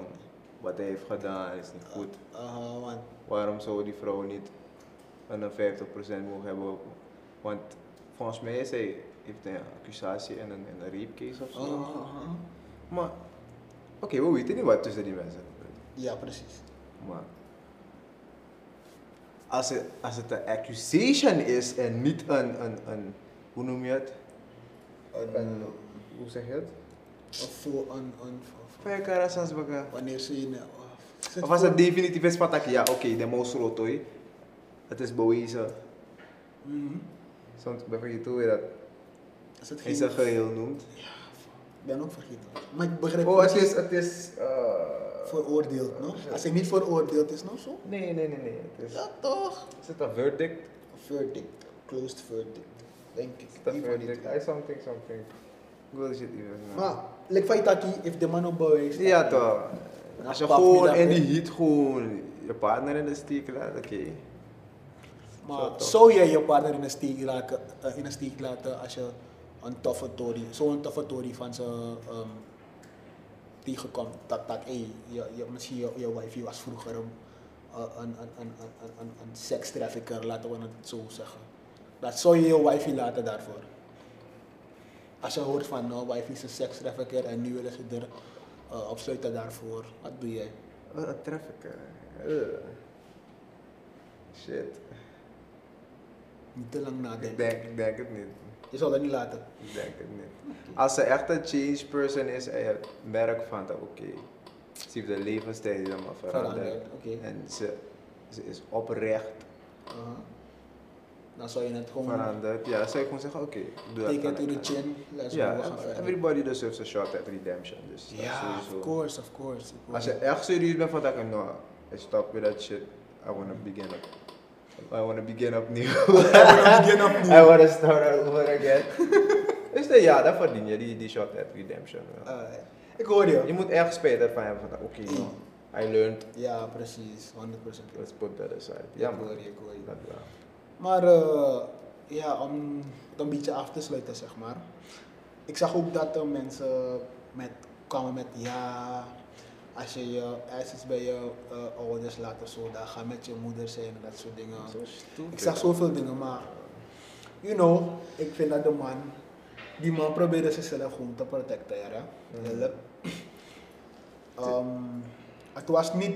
wat hij heeft gedaan is niet goed.
Aha, want
Waarom zou die vrouw niet een 50% mogen hebben? Want volgens mij is hij, heeft hij een accusatie en een, en een rape case
Ah,
of zo.
Aha.
Maar, oké, we weten niet wat tussen die mensen gebeurt.
Ja, precies.
Maar, als het, als het een accusation is en niet een, een, een hoe noem je het? Een, hoe zeg je het?
Of voor een, een, voor-
Vijf karas als baga.
wanneer ze in. eh, zet
Of als het
voor-
definitief is, patak, ja, oké, de mouse rotoi. Het is bewezen.
Mhm.
Soms ben je toe weer dat
Als het
in
geen-
zijn geheel noemt.
Ik ben ook vergeten. Maar ik begrijp
Oh, het
niet
is, het is, eh,
veroordeeld, no? Als hij niet veroordeeld is, no? Zo?
Nee, nee, nee, nee. Het is,
Ja, toch?
is het een verdict?
Verdict. Closed verdict. Denk ik.
Is het een
Een van die
verdict?
twee.
I something, something. Google shit even. man.
Maar, like Faitaki, if the man op bewijs staat,
Ja toch. Als je
Pap,
gewoon
middag,
in
hè.
die heat gewoon je partner in de steek laat, oké. Zo
Maar
toch.
zou jij je partner in een steek, raken, eh, in een steek laten als je een toffe tory, zo'n toffe tory van ze ehm, tegenkomt? Dat, dat hey, je, je, misschien je, je wife je was vroeger een, eh, een, een, een, een, een, een, een sex trafficker, laten we het zo zeggen. Dat zou je je wife laten daarvoor. Als je hoort van, nou, wife is een seks trafficker en nu willen ze er eh, op sluiten daarvoor, wat doe jij?
Wat een trafficker. Ugh. Eh. Shit.
Niet te lang
Ik
nadenken.
denk, ik denk het niet.
Je zou dat niet laten.
Ik denk het niet. Als ze echt een change person is en je merkt van dat oké, ze heeft haar levensstijl helemaal veranderd.
Veranderd, oké.
En ze, ze is oprecht
Aha. Dan zou je het gewoon
veranderd. Ja, zou ik gewoon zeggen oké, ik doe dat.
take it
dan
to the
en-
chin, let's
Ja,
go, we gaan verder.
everybody deserves a shot at redemption. Dus dat
Ja,
sowieso.
of course, of course. of
Als
course.
je echt serieus bent van dat ik nou, I stop with that shit. I wanna begin up. I wanna begin opnieuw.
begin
I
opnieuw.
wanna start all over again. dus nee, ja, dat verdien je, die, die shot at redemption. wel.
Ah, ik hoor je.
Je moet echt spijt ervan hebben van, oké, nou, I learned,
Ja, precies, 100%.
let's put that aside. Ja,
ik
man.
hoor je, ik hoor je.
Dat wel.
Maar eh, ja, om het een beetje af te sluiten, zeg maar. Ik zag ook dat er mensen met, kwamen met ja, als je je assets bij je eh, ouders laat of zo, dan ga met je moeder zijn en dat soort dingen.
Zo stupid.
Ik zag zoveel dingen, maar you know, ik vind dat de man, die man probeerde zichzelf gewoon te protecteren.
Mhm.
Eerlijk. Ehm, het was niet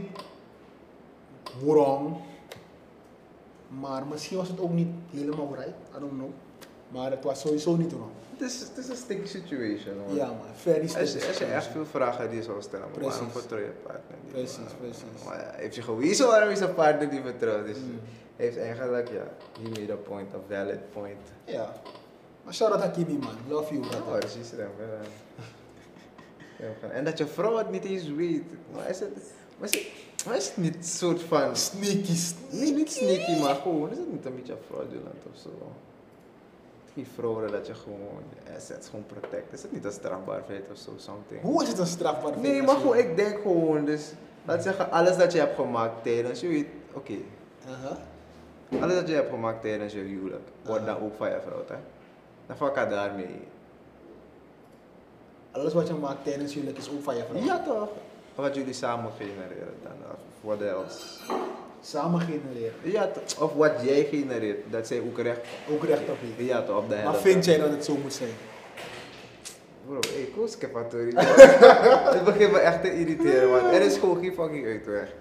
wrong, maar misschien was het ook niet helemaal right, I don't know. Maar het was sowieso niet wrong.
Het is, het is een stick situation, hoor.
Ja, man, very
Als je,
stupid
als je echt
situation.
veel vragen hebt die je zou stellen, maar waarom
Precies.
vertrouw je partner niet?
Precies,
Maar-
precies.
Maar ja, hij heeft je gewezen waarom je zijn partner niet vertrouwt? Dus
Mm.
hij heeft eigenlijk, ja, he made a point, a valid point.
Ja. Maar shout out Hakimi, man. Love you,
Ja,
brother.
precies, dan, ja. eh, Ja, van- En dat je vrouw het niet eens weet. Maar is het, maar is het, maar is het niet soort van...
Sneaky,
Niet,
sneaky.
niet sneaky, maar gewoon, is het niet een beetje fraudulent of zo? Die vrouwen dat je gewoon je assets gewoon protect. Is het niet een strafbaar feit of zo, something?
Hoe is het een strafbaar feit
Nee,
als
maar
je-
gewoon, ik denk gewoon, dus laat zeggen, alles dat je hebt gemaakt tijdens je weet, oké,
Aha.
alles dat je hebt gemaakt tijdens je huwelijk,
Ah.
wordt dan ook van je vrouw, hè? Dan vak ik daarmee.
Alles wat je maakt tijdens huwelijk is ook van je vrouw.
Ja toch? Wat jullie samen genereren dan, of what else?
Samen genereren.
Ja toch? Of wat jij genereert, dat zij ook recht
Ook recht op je.
Ja toch, op de
Maar
helft.
vind jij dat het zo moet zijn?
Bro, hey, cool scapatori. het begint me echt te irriteren, man. Er is gewoon geen fucking uitweg.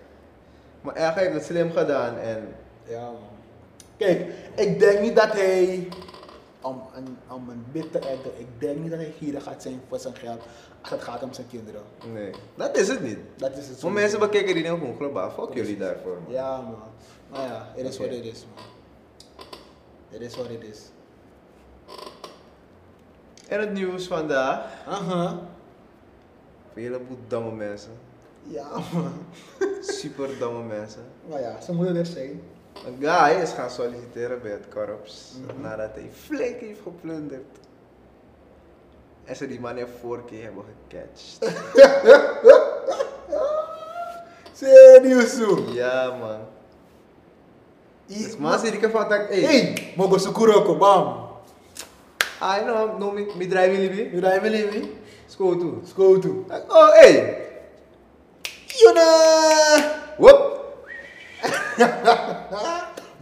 Maar hij heeft het slim gedaan en
Ja, man. Kijk, ik denk niet dat hij. Om een, om een bit te eten, ik denk niet dat hij gierig gaat zijn voor zijn geld als het gaat om zijn kinderen.
nee, dat is het niet.
Dat is het zo.
Sommige mensen bekijken die dingen gewoon globaal. Fuck jullie daarvoor, man.
Ja, man. Maar ja, it is
Oké.
what it is, man. It is what it is.
En het nieuws vandaag.
Aha.
Een heleboel domme mensen.
Ja, man.
Super domme mensen.
Maar ja, ze moeten er zijn.
Een guy is gaan solliciteren bij het korps
Mhm.
nadat hij flink heeft geplunderd. En ze die man in vier keer hebben gecatcht.
Serieus, zo.
ja man. Dus
I-
man, zie ik ervan dat ik, hey, Ah,
Hey, mogen ze koerokken, bam.
I know, no, me, me drive jullie
You know what I mean?
School toe.
Let's go to.
Ik, Oh, hey.
Yuna!
Whoop.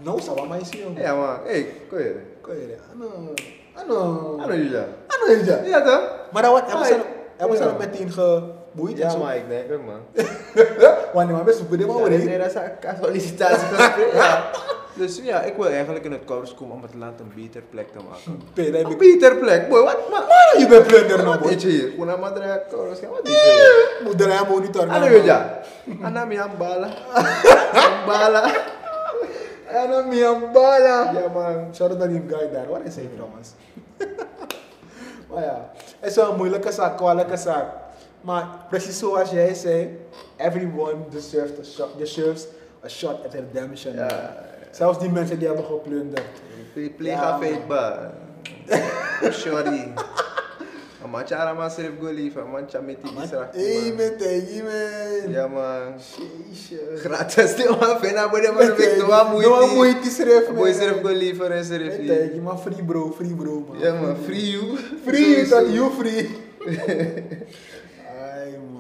Não usava mais esse ano.
Ja man, hey, kom je.
Coelho. Ah, não. Ah, não.
Hallo jullie dan.
Ah, não, já.
Ja toch?
Maar dan wat, hebben
Ah,
ze hebben ze
ja.
dat meteen geboeid en
Ja
zo?
maar ik denk het man.
Wanneer maar best goed, maar
Ja,
hoor
nee,
je.
dat is een sollicitatiegesprek. ja. Dus ja, ik wil eigenlijk in het korps komen om het land een beter plek te maken.
Pé, daí
Een
me...
beter plek, boy. Wat ma-
Mano, je bent plunder nou,
Wat
boy.
deed je hier? Gewoon aan Madrid, korps. Wat deed je hier?
Moet draai monitor nou.
Ano yun dyan? Anami ang bala. ang bala. Anami ang bala.
Ja, man. Shout out naar die guy daar. Wat is hij trouwens? maar ja, het is wel een moeilijke zaak, kwalijke zaak. Maar precies zoals jij zei, eh, everyone deserves a shot, deserves a shot at redemption.
Ja, ja.
Zelfs die mensen die hebben geplunderd.
Play ka fade ba? Sorry. Oh, Ama chara ma sirip goli fa man chamiti bisra.
Amen, amen.
Ya man.
Jezus.
Gratis di ma fena bo de ma sirip do ma muiti.
Doa moeite schrijf, man.
Boy sirip goli fa re sirip.
Hey, Teggy, maar free bro, free bro man.
Ya man free you.
Free, dat you free. Ai man.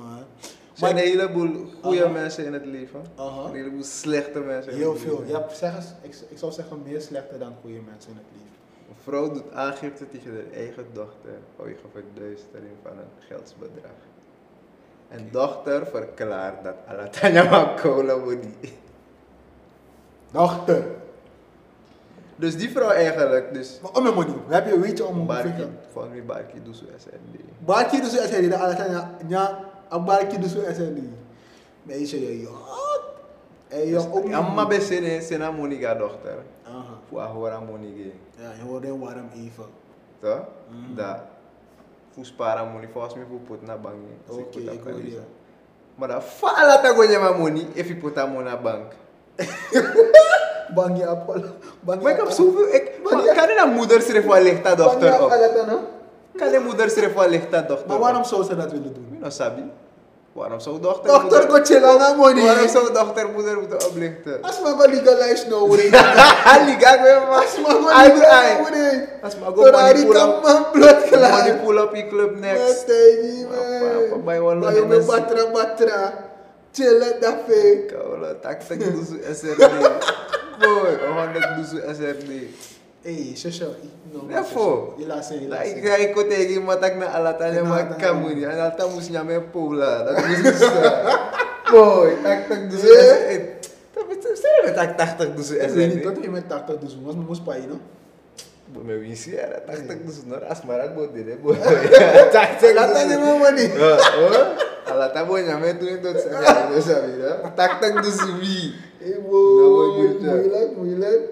Maar een
Maar
heleboel goede
Aha.
mensen in het leven.
Aha.
Een heleboel slechte mensen. in
heel
het
veel.
leven.
Ja, zeg eens, ik, ik zou zeggen meer slechte dan goede mensen in het leven.
Een vrouw doet aangifte tegen haar eigen dochter vanwege verduistering van een geldsbedrag. En dochter verklaart dat Alatanya Makola Modi.
Dochter.
Dus die vrouw eigenlijk, dus.
Maar om mijn money. Heb je, weet je om mijn
Barkie,
money?
gewoon wie Barkie doet zo SND.
Barkie dus SND. Dat alles aan ja. Een barkie dus SND. Meisje, je joh. En je ook
Ja, maar bij zin zijn Monica dochter.
Aha.
Voor haar Monica.
Ja, je wordt heel warm even.
Toch?
Mm.
Dat. Voor sparen Monica, volgens mij voor put naar bank. hè. Als
Oké,
put dat
ik hoor
kan
je.
lezen. Maar dat fala tagonya Monica, even put haar Monica bank.
Bang je appel. Bang
Maar
je
ik heb
appel.
zoveel. Ik,
Maar
maar
ja.
kan je naar moeder schrijven van lichta
Bang je
dochter op?
appel, dat dan, hè?
Kan je moeder schrijven van lichta dochter
Maar
op?
waarom zou ze dat willen doen?
Ik weet sabi. Waarom zou dochter.
Dokter
moeder,
Coachella na mo ni.
waarom zou dochter moeder moeten oplichten?
As mga legalize na uri.
Ali, ga weer
As
mas
mga
Ay,
legalize na
ay.
uri.
Als maar go money
Ferrari
pull
ka
up.
man blood ka lang.
Money pull up je club next.
Matay
Pa- pa-
man.
buy one lang
Bayo may
yan, nas-
batra-batra. Chela da fe.
Kaulo, tak tak dusu SRD. Boy, oh handak dusu SRD.
Eh, siya siya. No,
Therefore,
Ilasin,
Like,
ilasin.
kaya ko tegi matak na alata niya
Alata
magkamu niya. Ang alata mo siya may pula. Tapos gusto. Boy, tak-tak gusto. Eh, Tapos sino may tak-tak gusto
Really,
SND?
totoo yung may takta doon. Mas mamos pa yun, no?
May wisi ara. Tak-tak gusto na. Asmarag mo din eh, boy. Tak-tak
Alata niya mo man eh.
Ha, Alata mo niya may tuwing doon sa sabi mo sabi na. Tak-tak gusto mi.
Eh,
Naman yun
boy.
siya.
Muilat, muilat.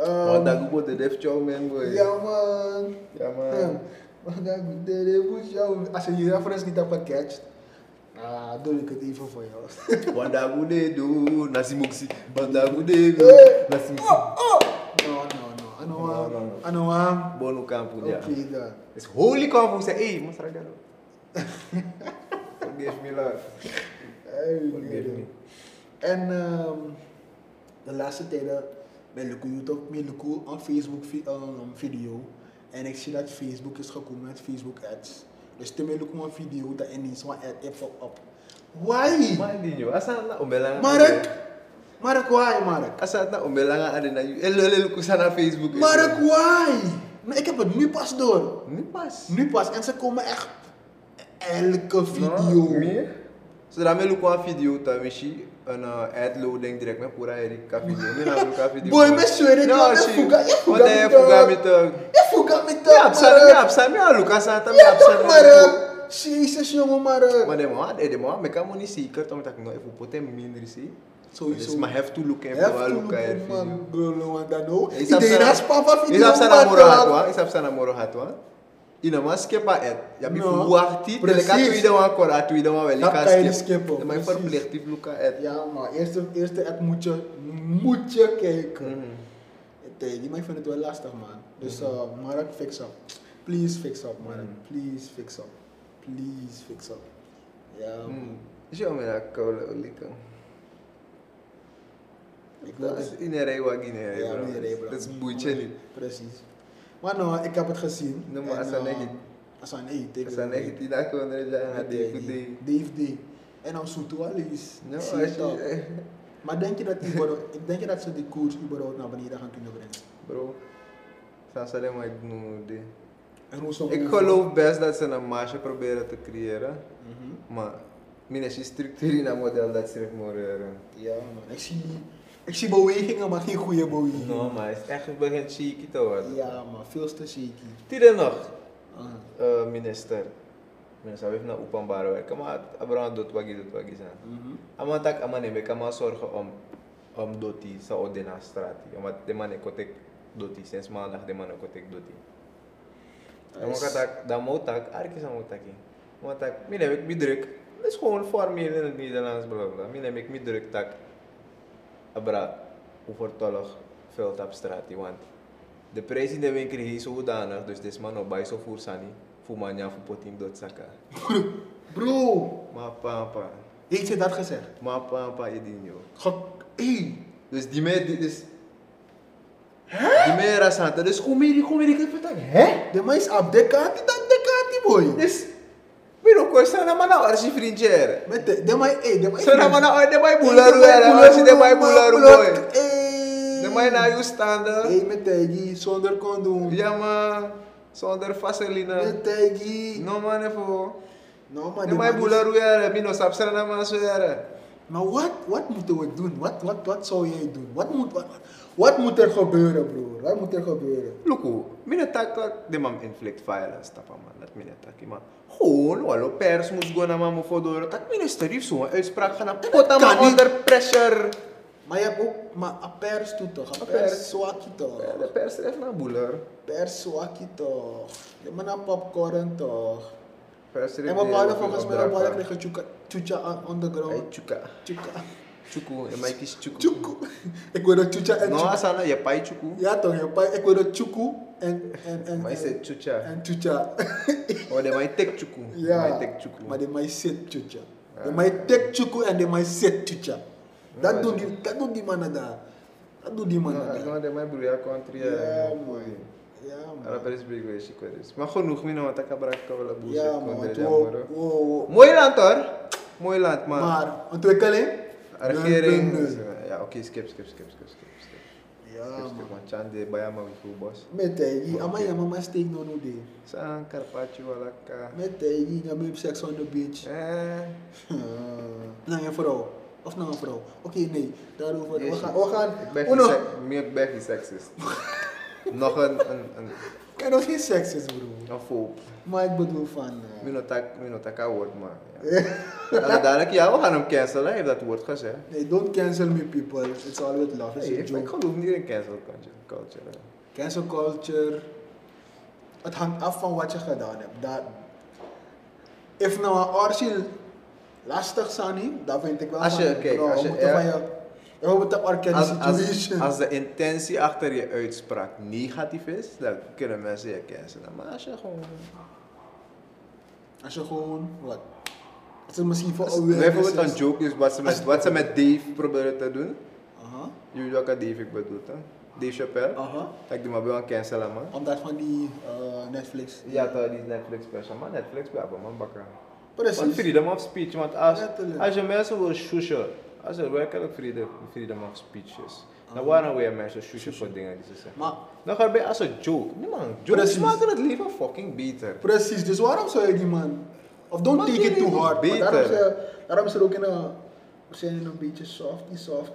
Um,
Wanda ko po the def chow man boy.
Yaman.
Yaman.
Manda dele puxar. Als je die reference niet hebt gecatcht, ah, doe ik het even voor jou.
Wanda ko de do. Nasimukisi. Wanda ko de do.
Eh.
Nasimukisi.
No, no, no.
No, no,
Anoa,
no.
anoa.
Bono campo niya.
Oké dan.
It's holy convo. Say, hey, mostra a garota. Forgive me, Lord.
Hey,
Forgive me.
nee. En ehm, de laatste tijden ben ik YouTube, ben ik een Facebook vi- ehm, video. En ik zie dat Facebook is gekomen met Facebook ads. Dus toen ben ik een video dat ineens zo'n ad heeft op. Why?
Mandinho, asa na umbelangan.
Mark! Mark, why Mark?
Asa na umbelangan ada na you. Elo elo ko sana Facebook. e
Mark, why? Maar ik heb het nu pas door.
Ni pas.
Nu pas. En ze komen echt elke video.
No, meer. Non, So dame lu kwa video ta mishi an ad loading direct me pura Eric ka video. Ni na lu ka video. Non,
Boy, me zweren, die
No,
man,
she.
fuga- je fuga
Wat hij
met
fuga
dat.
met dat.
Je voelt met
Mi
dat,
absa, mi
Mark.
absa, mi alu ka sa ta mi
Ja,
absa.
toch, Mark. Jezus, jongen,
Maar
Mark.
de man, de man, me kan mo ni secret omdat ik nou even potem minder zie.
Sowieso.
Dus maar have to look even
Heft
wel look at
toe,
video.
man. Brullen, want dan ook.
Isa
Iedereen
sana-
had span van video.
Isa sana
maar
moro
toch.
hatwa, isa sana moro hatwa. Ina mas kepa et. Ya bi
No.
fu warti,
Precies.
leka tu ida wan kora tu ida wan wel
Dat
leka
kan je niet
skep.
skippen,
Ja, Maar
precies.
verplichtig luka et.
Ja, maar eerste, eerste ad moet je, moet je kijken.
Mhm.
Tegen die man vindt het wel lastig, man. Dus eh, Mark, fix up. Please fix up, Mark.
Mhm.
Please fix up. Please fix up. Ja, man.
Mm. Show me that kaula ulika.
Ik wil
Mhm. Dat is
het-
inere wa ginere.
Ja, nee, nee, bro.
Dat is boetje niet.
Precies. Maar nou, ik heb het gezien.
Nee, maar
En,
als een
eh,
negatief.
Als een negatief, ik
Dat
wil
zijn echt die dat kon er zijn
het
had
niet.
ik goed.
Dave D. En dan Soeto Alice.
No,
Ik zie het al.
actually,
Maar denk je, dat die überhaupt- ik denk je dat ze die koers überhaupt naar beneden gaan kunnen brengen?
bro. Sansale maar ik noem dit.
En hoe ze-
Ik geloof best dat ze een marge proberen te creëren.
Mhm.
Maar, mijn structuur in dat model dat ze moreren.
Ja, man. Ik zie Ik zie bewegingen, maar geen goede bewegingen.
No, maar het is echt begint cheeky te worden.
Ja, maar veel te shaky.
Tiden nog,
Ah.
eh, minister. Minister heeft naar openbare werken, maar Abraham doet wat hij doet wat hij zegt. Aman tak aman ebe kama sorge om om doti sa odena strati. Omdat de man kotek doti sinds maandag de man kotek doti. Dan moet tak dan moet tak arki sa moet taki. Want tak mine heb ik me druk. Dat is gewoon formeel in het Nederlands bla bla. Mine heb ik me druk tak abra overtollig veld op strati want de prijzen die we krijgen zodanig dus deze man op bij zo voor sani voor manja voor potim dot saka.
Bro,
Maar papa,
heeft je dat gezegd?
maar papa edinio.
Ge- Hé,
Dus die meer, die, dus... Die meer rasante. Dus kom hier, kom hier, ik heb het aan. Hè?
de man is op de kant, die dat de kant, die boy.
Dus... Weet je ook, we zijn allemaal naar Arsi Vriendjer.
Met de, de man, hé, de man
We
is...
zijn allemaal naar de Bijboelaru, hè. Arsi de Bijboelaru, boy.
Eh.
De mij naar jou standen.
Hé, met Tegi, zonder condoom.
Ja, man. Zonder vaseline.
Met Tegi.
No, man, even.
No, man,
De
de man is-
Bijboelaru, hè. Mino, sap, zijn allemaal zo, hè.
Maar wat, wat moeten we doen? Wat, wat, wat zou jij doen? Wat moet, wat, wat moet er gebeuren, broer? Wat moet er gebeuren?
Luku, mine tak tak de mam inflict violence tapa man, dat mine tak man. Gewoon, walo pers moest gaan naar mamu Tá, fodoro. Tak mine starief zo'n uitspraak gaan op kota
kan
man
niet.
onder pressure.
Maar je hebt ook, maar een pers toe toch? Een
Een pers.
pers zwakkie toch?
Ja, É, de pers treft naar boeler.
Pers zwakkie toch? Je moet naar Ya, popcorn toch?
Pers treft
En we hadden volgens mij op hadden kregen tjoeka- tjoetja aan
Hey,
underground.
chuka.
Tjoeka.
Chuku, en mij kies chuku.
Tjoeko. Ik hoorde tjoetja en
No,
tjoeka.
asana, je pai chuku.
Ja toch, je Ya, pa- ik hoorde tjoeko en en en
Maar je
en-
zegt chucha.
en tjoetja.
Oh, de mij tek chuku. De
Ja,
mij tek chuku.
maar de mij zit tjoetja. De mij tek tjoeko en de mij zit tjoetja.
Ja,
Dat doen die, dat doen die mannen daar. Dat doen die
Ah,
mannen daar.
Nou, de mij broer, ja, country.
Ja man. Ja man.
Rapper is big way, chico is. Maar genoeg, mine, want ik heb braak kabala boezek.
Ja man. want Wow, wow, wow.
Mooi land hoor. Mooi land, maar...
Maar ontwikkeling?
Regering...
Nee, nee, nee.
Ja, oké, Ya, skip, skip, skip, skip, skip. skip.
Ja
Skip,
man.
skip, want Chande, Bayama, we full boss.
Metegi, ama ya mama steak no no day.
San, Carpaccio, Alaka.
Metegi, na maybe sex on the beach.
Ah. Eh,
Na je vrouw. Of na een vrouw. Oké, nee. Daarover. We
jezus.
gaan. We
Ik
gaan.
ben
Uno.
geen sec- Meer ben geen seksist. Nog een, een, een,
Kan nog geen seks is, bro.
een volk.
Maar ik bedoel van. eh,
Minotak, Minotaka woord, maar. Ja. En dadelijk, ja, we gaan hem cancelen. Hij heeft dat woord gezegd.
nee, don't cancel me, people. It's all with love. It's
Nee,
a
ik ik
joke.
geloof niet in cancel culture. hè.
Cancel culture. Het hangt af van wat je gedaan hebt. Dat. If nou een orsiel lastig zou niet, dan vind ik wel.
Als je-
van,
kijk,
bro,
als
we
je-
moeten
ja.
van je. We moeten orkennen
Als, als,
situation.
als de intentie achter je uitspraak negatief is, dan kunnen mensen je cancelen. Maar als je gewoon.
Als je gewoon, wat? Het is misschien voor
Als-
een
Bijvoorbeeld een joke is wat ze met, wat ze met Dave proberen te doen.
Aha,
Je weet welke Dave ik bedoel, hè? Dave Chappelle.
aha.
Dat ik die maar bij aan cancelen, man.
Omdat van die eh, Netflix.
Ja, toch, die Netflix special. Maar Netflix blijven, man, bakker. Want
Precies.
freedom of speech, want als,
Letterlijk.
als je mensen wil shushen, als er werkelijk freedom, freedom of speech is, dan waarom wil je mensen shushen voor dingen die ze zeggen?
Maar
Dan ga je bij als een joke. Nee, man, jokes
Precies.
maken het leven fucking beter.
precies, dus waarom zou je die man... Of don't
Maar
take
die
it too
doen
hard. maar
beter.
Daarom, is er- daarom is er ook in een... We zijn in een beetje softy, softy...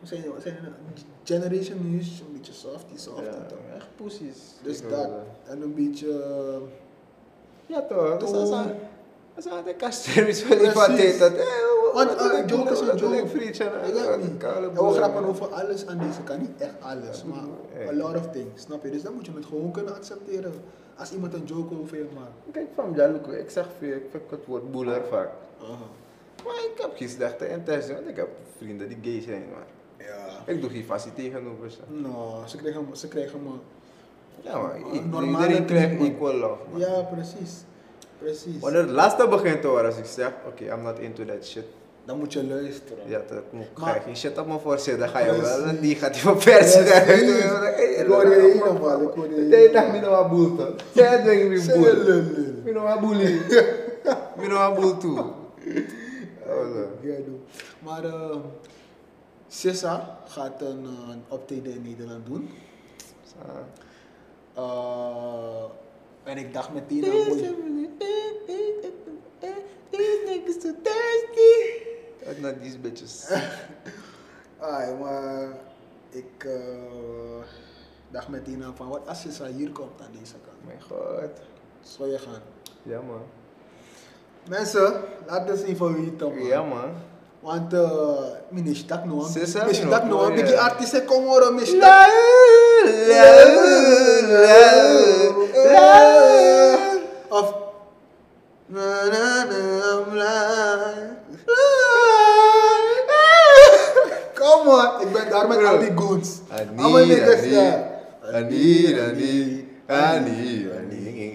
We zijn, we zijn in een die generation nu is een beetje softy, softy. toch?
Ja, echt poesies.
Dus
Ik
dat.
wil, eh,
En een beetje... eh,
Ja toch, dat
Toen-
is aan- dat is aan de kasteries van die van
Precies.
dit. dat, eh, wat-
Want
wat-
een
wat-
joke is
wat-
een
wat-
joke.
wat- frietje, eh,
Ik weet niet.
kale
En we
boeren.
grappen over alles aan deze kant. Niet echt alles, maar
Hey.
a lot of things. Snap je? Dus dan moet je het gewoon kunnen accepteren. Als iemand een joke over je maakt.
Kijk, van Jaluku, ik zeg veel, ik vind het woord boeler vaak. Maar ik heb geen slechte intentie, want ik heb vrienden die gay zijn, maar
Ja.
ik doe geen facie tegenover ze.
Nou, ze krijgen me. Ze krijgen me.
Ja, maar i-
Normale
iedereen krijgt
vrienden.
equal love. man.
Ja, precies. Precies.
Wanneer het laatste begint te worden, als ik zeg, oké, I'm not into that shit.
Dan moet je luisteren.
Ja, dat moet ga
Maar-
je geen shit op me voorzien, dan ga je wel
Precies.
een negatieve versie
Precies.
daaruit doen.
Ik hoor je helemaal, ik hoor je
Jij dacht,
helemaal.
"Mino wa boel toch? Jij denkt, "Mino
Zij
boel."
lullen.
Mino wa boelie. Mino wa boel toe. Oh, Allee.
Ja, ik doe. Maar eh Sissa gaat een, eh, een optreden in Nederland doen.
Sa-
Eh, en ik dacht meteen aan mooi.
These niggas too thirsty.
Oh Kijk naar die bitches.
Ai, maar ik eh, dacht meteen aan van wat als je hier komt aan deze kant.
Mijn god.
Zou je gaan.
Ja, man.
Mensen, laat eens zien van wie het dan man.
Ja, man.
Want eh, mijn is dat nou.
Ze zijn
Mijn is
nog
dat nou.
mooi,
want die
ja.
artiesten komen horen, mijn is
La,
dat.
la, la, la.
Of. Na na na bla. Kom on, ik ben daar met
Bro.
al die goons.
I need,
Allemaal
I
niggas
need,
daar.
I need, I need, I need, I need.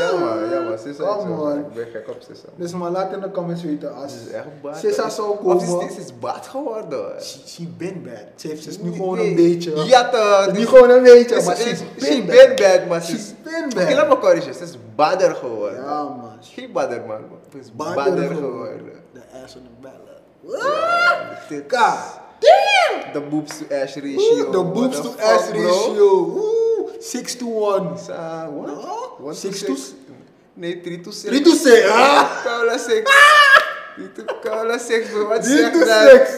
Ja man, ja man, Sissa is
Kom
zo.
on.
Ik ben gek op Sissa.
Dus maar laat in de comments weten als
Ze is echt bad.
Sissa
hoor.
zou
Of is
komen.
dit is bad geworden hoor.
She, she been bad. Ze heeft ze is nu
Nee,
gewoon
nee.
een beetje.
Ja toch.
Ze is
dus-
nu gewoon een beetje,
Is-
maar
uh, is-
she's
she
uh, been
been
bad.
bad, maar
She's
she's...
been
Oké,
bad.
laat me corrigeren. Ze is badder geworden.
Ja man.
Geen badder man, man. Ze is
Badder
badder
geworden.
geworden.
De ass on the ballot.
Dit-
God
The boobs to ass ratio.
Ooh, the boobs to ass ratio. Ooh, 6 to 1.
Sa, what?
No.
One
Six to s-
Nee, 3 to 6.
3 to 6. Ah!
Koude seks. Koude seks, bro. Wat
3
zeg
to
dat?
6.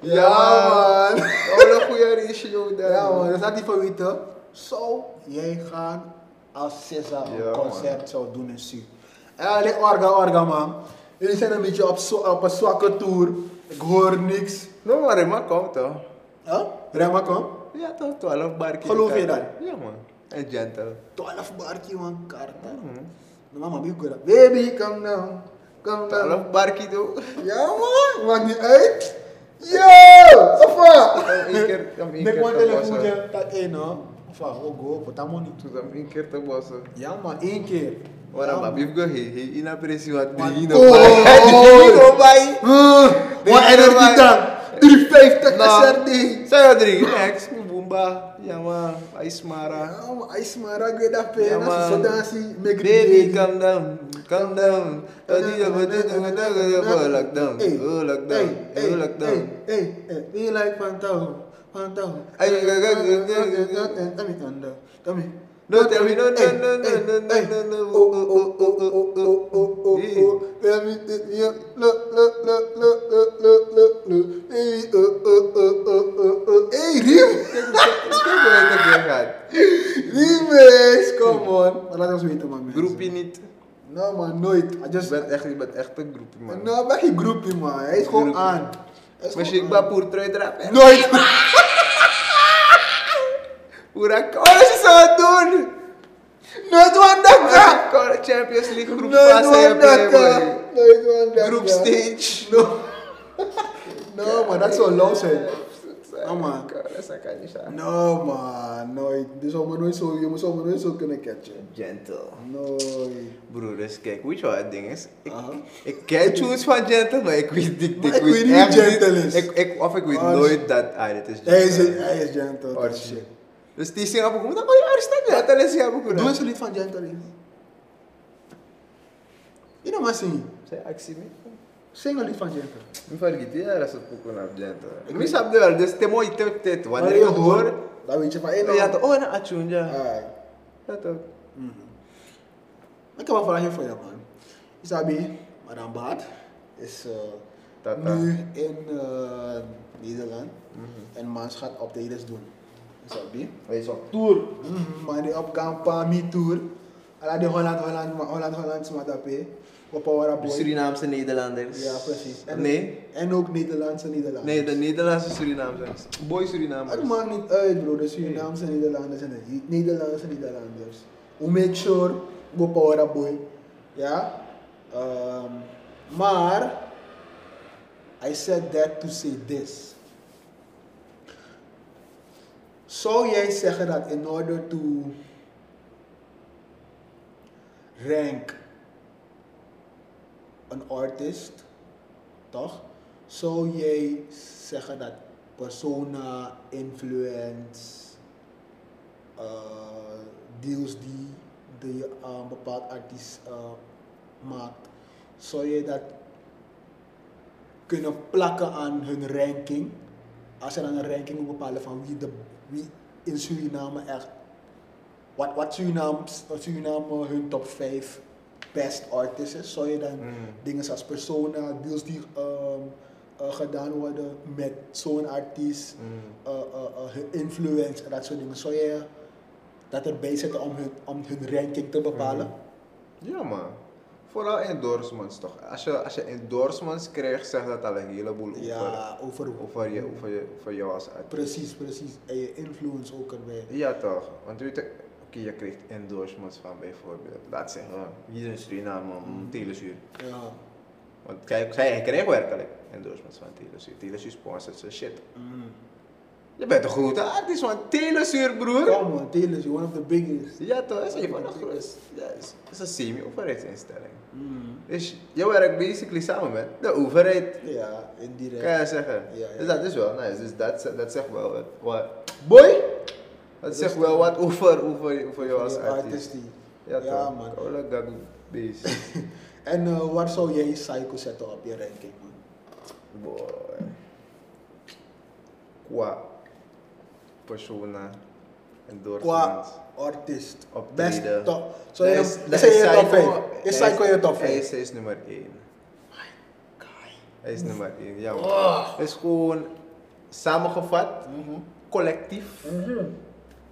Ja,
Ja, man.
Koude goede ratio daar.
Ja, man. Dat laat die van weten. Zou jij gaan als César
Ja,
een
man.
concert zou doen in Su? Ja, alleen É, orga, orga, man. Jullie zijn een beetje op, zo, op een zwakke tour. Ik hoor niks.
No, maar Rema komt toch?
Huh? Remma, kom.
Ja, toch? 12 bar. keer
Geloof je
kaart.
dat?
Ja, man. En gentle.
12 barkie, man. Karta.
Mhm.
Mama, wie goed. Baby, come down. Come down.
12 bar, kiddo.
Ja man, maakt niet uit. Yo, Safa!
Om één keer- om één
Ik
keer
moet
te
telefoon
bossen.
dat één hoor. Of ah, oh go, wat dat moet niet.
Toen zijn we een keer te bossen.
Ja man, één keer.
Waarom? Maar Bibgo, hij hij in apprecie wat
Man,
die hier
oh.
nog bij. Die hier nog bij.
Wat energie dan? 350 SRD.
Saya Rodrigo, Max, Mbumba, Yama, Aismara.
Ja man, hij smaakt ik weet dat
Ja,
veel.
man.
Als je zo dan ziet, make it
Baby,
big.
calm down, calm down. Oh, die jongen, die jongen, die jongen, die jongen, lockdown,
Hey,
oh, lockdown,
hey,
oh,
hey,
lockdown.
Hey, hey, hey, we like Phantom. Phantom.
Hey, hey, hey, hey, hey, hey, hey.
Tell me, thunder. Tell me.
No, tell me, no, no,
Hey,
no, no,
hey,
no, no,
hey.
no, no.
Oh, oh, oh, oh, oh, oh, oh, oh,
Hey.
oh. Let me take me up. Look, look, look, look, look, look, look, look. Hey, oh, oh, oh, oh, oh, oh. Hey, Rim.
Kijk hoe- kijk hoe hij tekeer gaat.
Remix, come on. Maar laat ons weten, man, mensen.
Groepie niet.
No, man, nooit. I
Je
just...
bent echt, je bent echt een groepie man.
No, maar geen groepie, man. Hij is gewoon
Groepie.
aan. Hij is
Maar
gewoon
ik
aan.
ben poer trui drapen.
Nooit.
Hoe dat- Oh, ze zou het doen.
Nooit wandaka!
Koude Champions League groep
Nooit
fase hebben,
wandaka!
man.
Nooit wandaka!
Groep stage.
No. no man, dat zou low zijn. Oh, man.
Koude, dat kan niet zijn.
No man, nooit. Dit zou me nooit zo, je moet zou me nooit zo kunnen catchen.
Gentle.
Nooit.
Broer, dus kijk, weet je wat het ding is? Ik,
Aha.
ik ken tunes van Gentle, maar ik weet niet,
Maar ik weet niet wie
echt
Gentle is.
Ik, ik, of ik weet
Maar-
nooit dat, ah, dit is
Hij is,
Gentle.
hij is gentle.
Or
dat
shit.
Oh, shit.
Dus die zingen op een dan oh ja, er staat Gentle en zingen op een
Doe eens een lied van gentle. Lee. Je nou maar zingen.
Zij actie mee.
Zing een lied van gentle.
Ik vergeet, ja, dat is het pokoen op Gentle. Ik mis op de wel, dus te mooi te tijd. Wanneer je
Maar
het hoort,
dan weet je van één
dan ja, toch, oh, een atjoen, ja.
Alright.
Ja, toch.
Ik heb een vraagje voor jou, man. Isabi, Madame Baat is eh,
Tata.
nu in eh, Nederland en Maans gaat optredens doen. Isabi.
Hij is op
Tour. Maar die op Kampami Tour. Alla de Holland, Holland, Holland, Holland, Smatapé. Op Power
De
Boy.
Surinaamse Nederlanders.
Ja, precies. En,
Nee,
En ook Nederlandse Nederlanders.
nee, de Nederlandse Surinamers. Boy Surinamers.
Het maakt niet uit, bro. De Surinaamse Nederlanders en de Nederlandse Nederlanders. We make sure we power up, boy. Ja? Ehm, maar, I said that to say this. Zou jij zeggen dat in order to rank een artist, toch? Zou jij zeggen dat persona, influence, eh, deals die, die je aan een bepaald artiest eh, maakt, zou je dat kunnen plakken aan hun ranking? Als je dan een ranking moet bepalen van wie, de, wie in Suriname echt, wat, wat Suriname, Suriname hun top 5 best artists is, zou je dan
Mm.
dingen zoals persona, deals die ehm, eh, gedaan worden met zo'n artiest, eh, eh, eh, hun influence en dat soort dingen. Zou je dat erbij zetten om hun, om hun ranking te bepalen?
Ja, man. Vooral endorsements toch? Als je, als je endorsements krijgt, zegt dat al een heleboel over,
Ja, over,
over, je, over, je, over jou als artiest.
Precies, precies. En je influence ook erbij.
Ja, toch? Want weet je, oké, je krijgt endorsements van bijvoorbeeld, laat zeggen, oh, hier in Suriname, mm. Telesuur.
Ja.
Want kijk, zij krijgen werkelijk endorsements van Telesuur. Telesuur sponsort zijn shit. Je bent een grote artiest van Telesuur, broer.
Come on, Taylor is one of the biggest.
Ja, toch? Dat is een van de grootste. Ja, is, is een semi-overheidsinstelling. Dus je werkt basically samen met de overheid.
Ja, indirect.
Kan je zeggen.
Ja, ja.
Dus dat is wel nice. Dus dat, ze- dat zegt wel wat. wat- Boy! Dat zegt wel wat over, over, over jou
Voor
als
je
artiest.
artiestie.
Ja,
Ja,
toch?
man.
Koude gagoe beest.
En eh, waar zou jij Psycho zetten op je ranking, man?
Boy. Qua persona en
Qua
doorgaans.
artiest.
Optreden.
Best top. Zo
Hij
je,
is-
is,
hij
hij in je top
Psycho-
5? Is
hij
Psycho in je top
hij
5?
is- Hij is nummer 1. Hij is nummer 1, ja man.
Oh.
Het is gewoon samengevat,
Mhm.
collectief,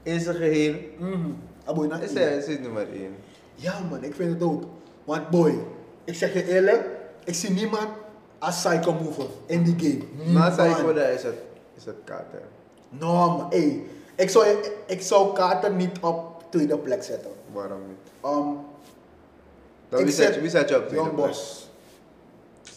in zijn geheel.
Mhm. Aboy, na
Is hij is hij nummer 1.
Ja man, ik vind het ook. Want boy, ik zeg je eerlijk, ik zie niemand als psycho mover in die game.
Na Psycho
Niemand.
daar is het, is het kater.
No man, ey. Ik zou, ik zou Carter niet op tweede plek zetten.
Waarom niet?
Um,
Dan
ik
wie, zet,
zet
wie zet je op tweede
Young
plek?
Boss.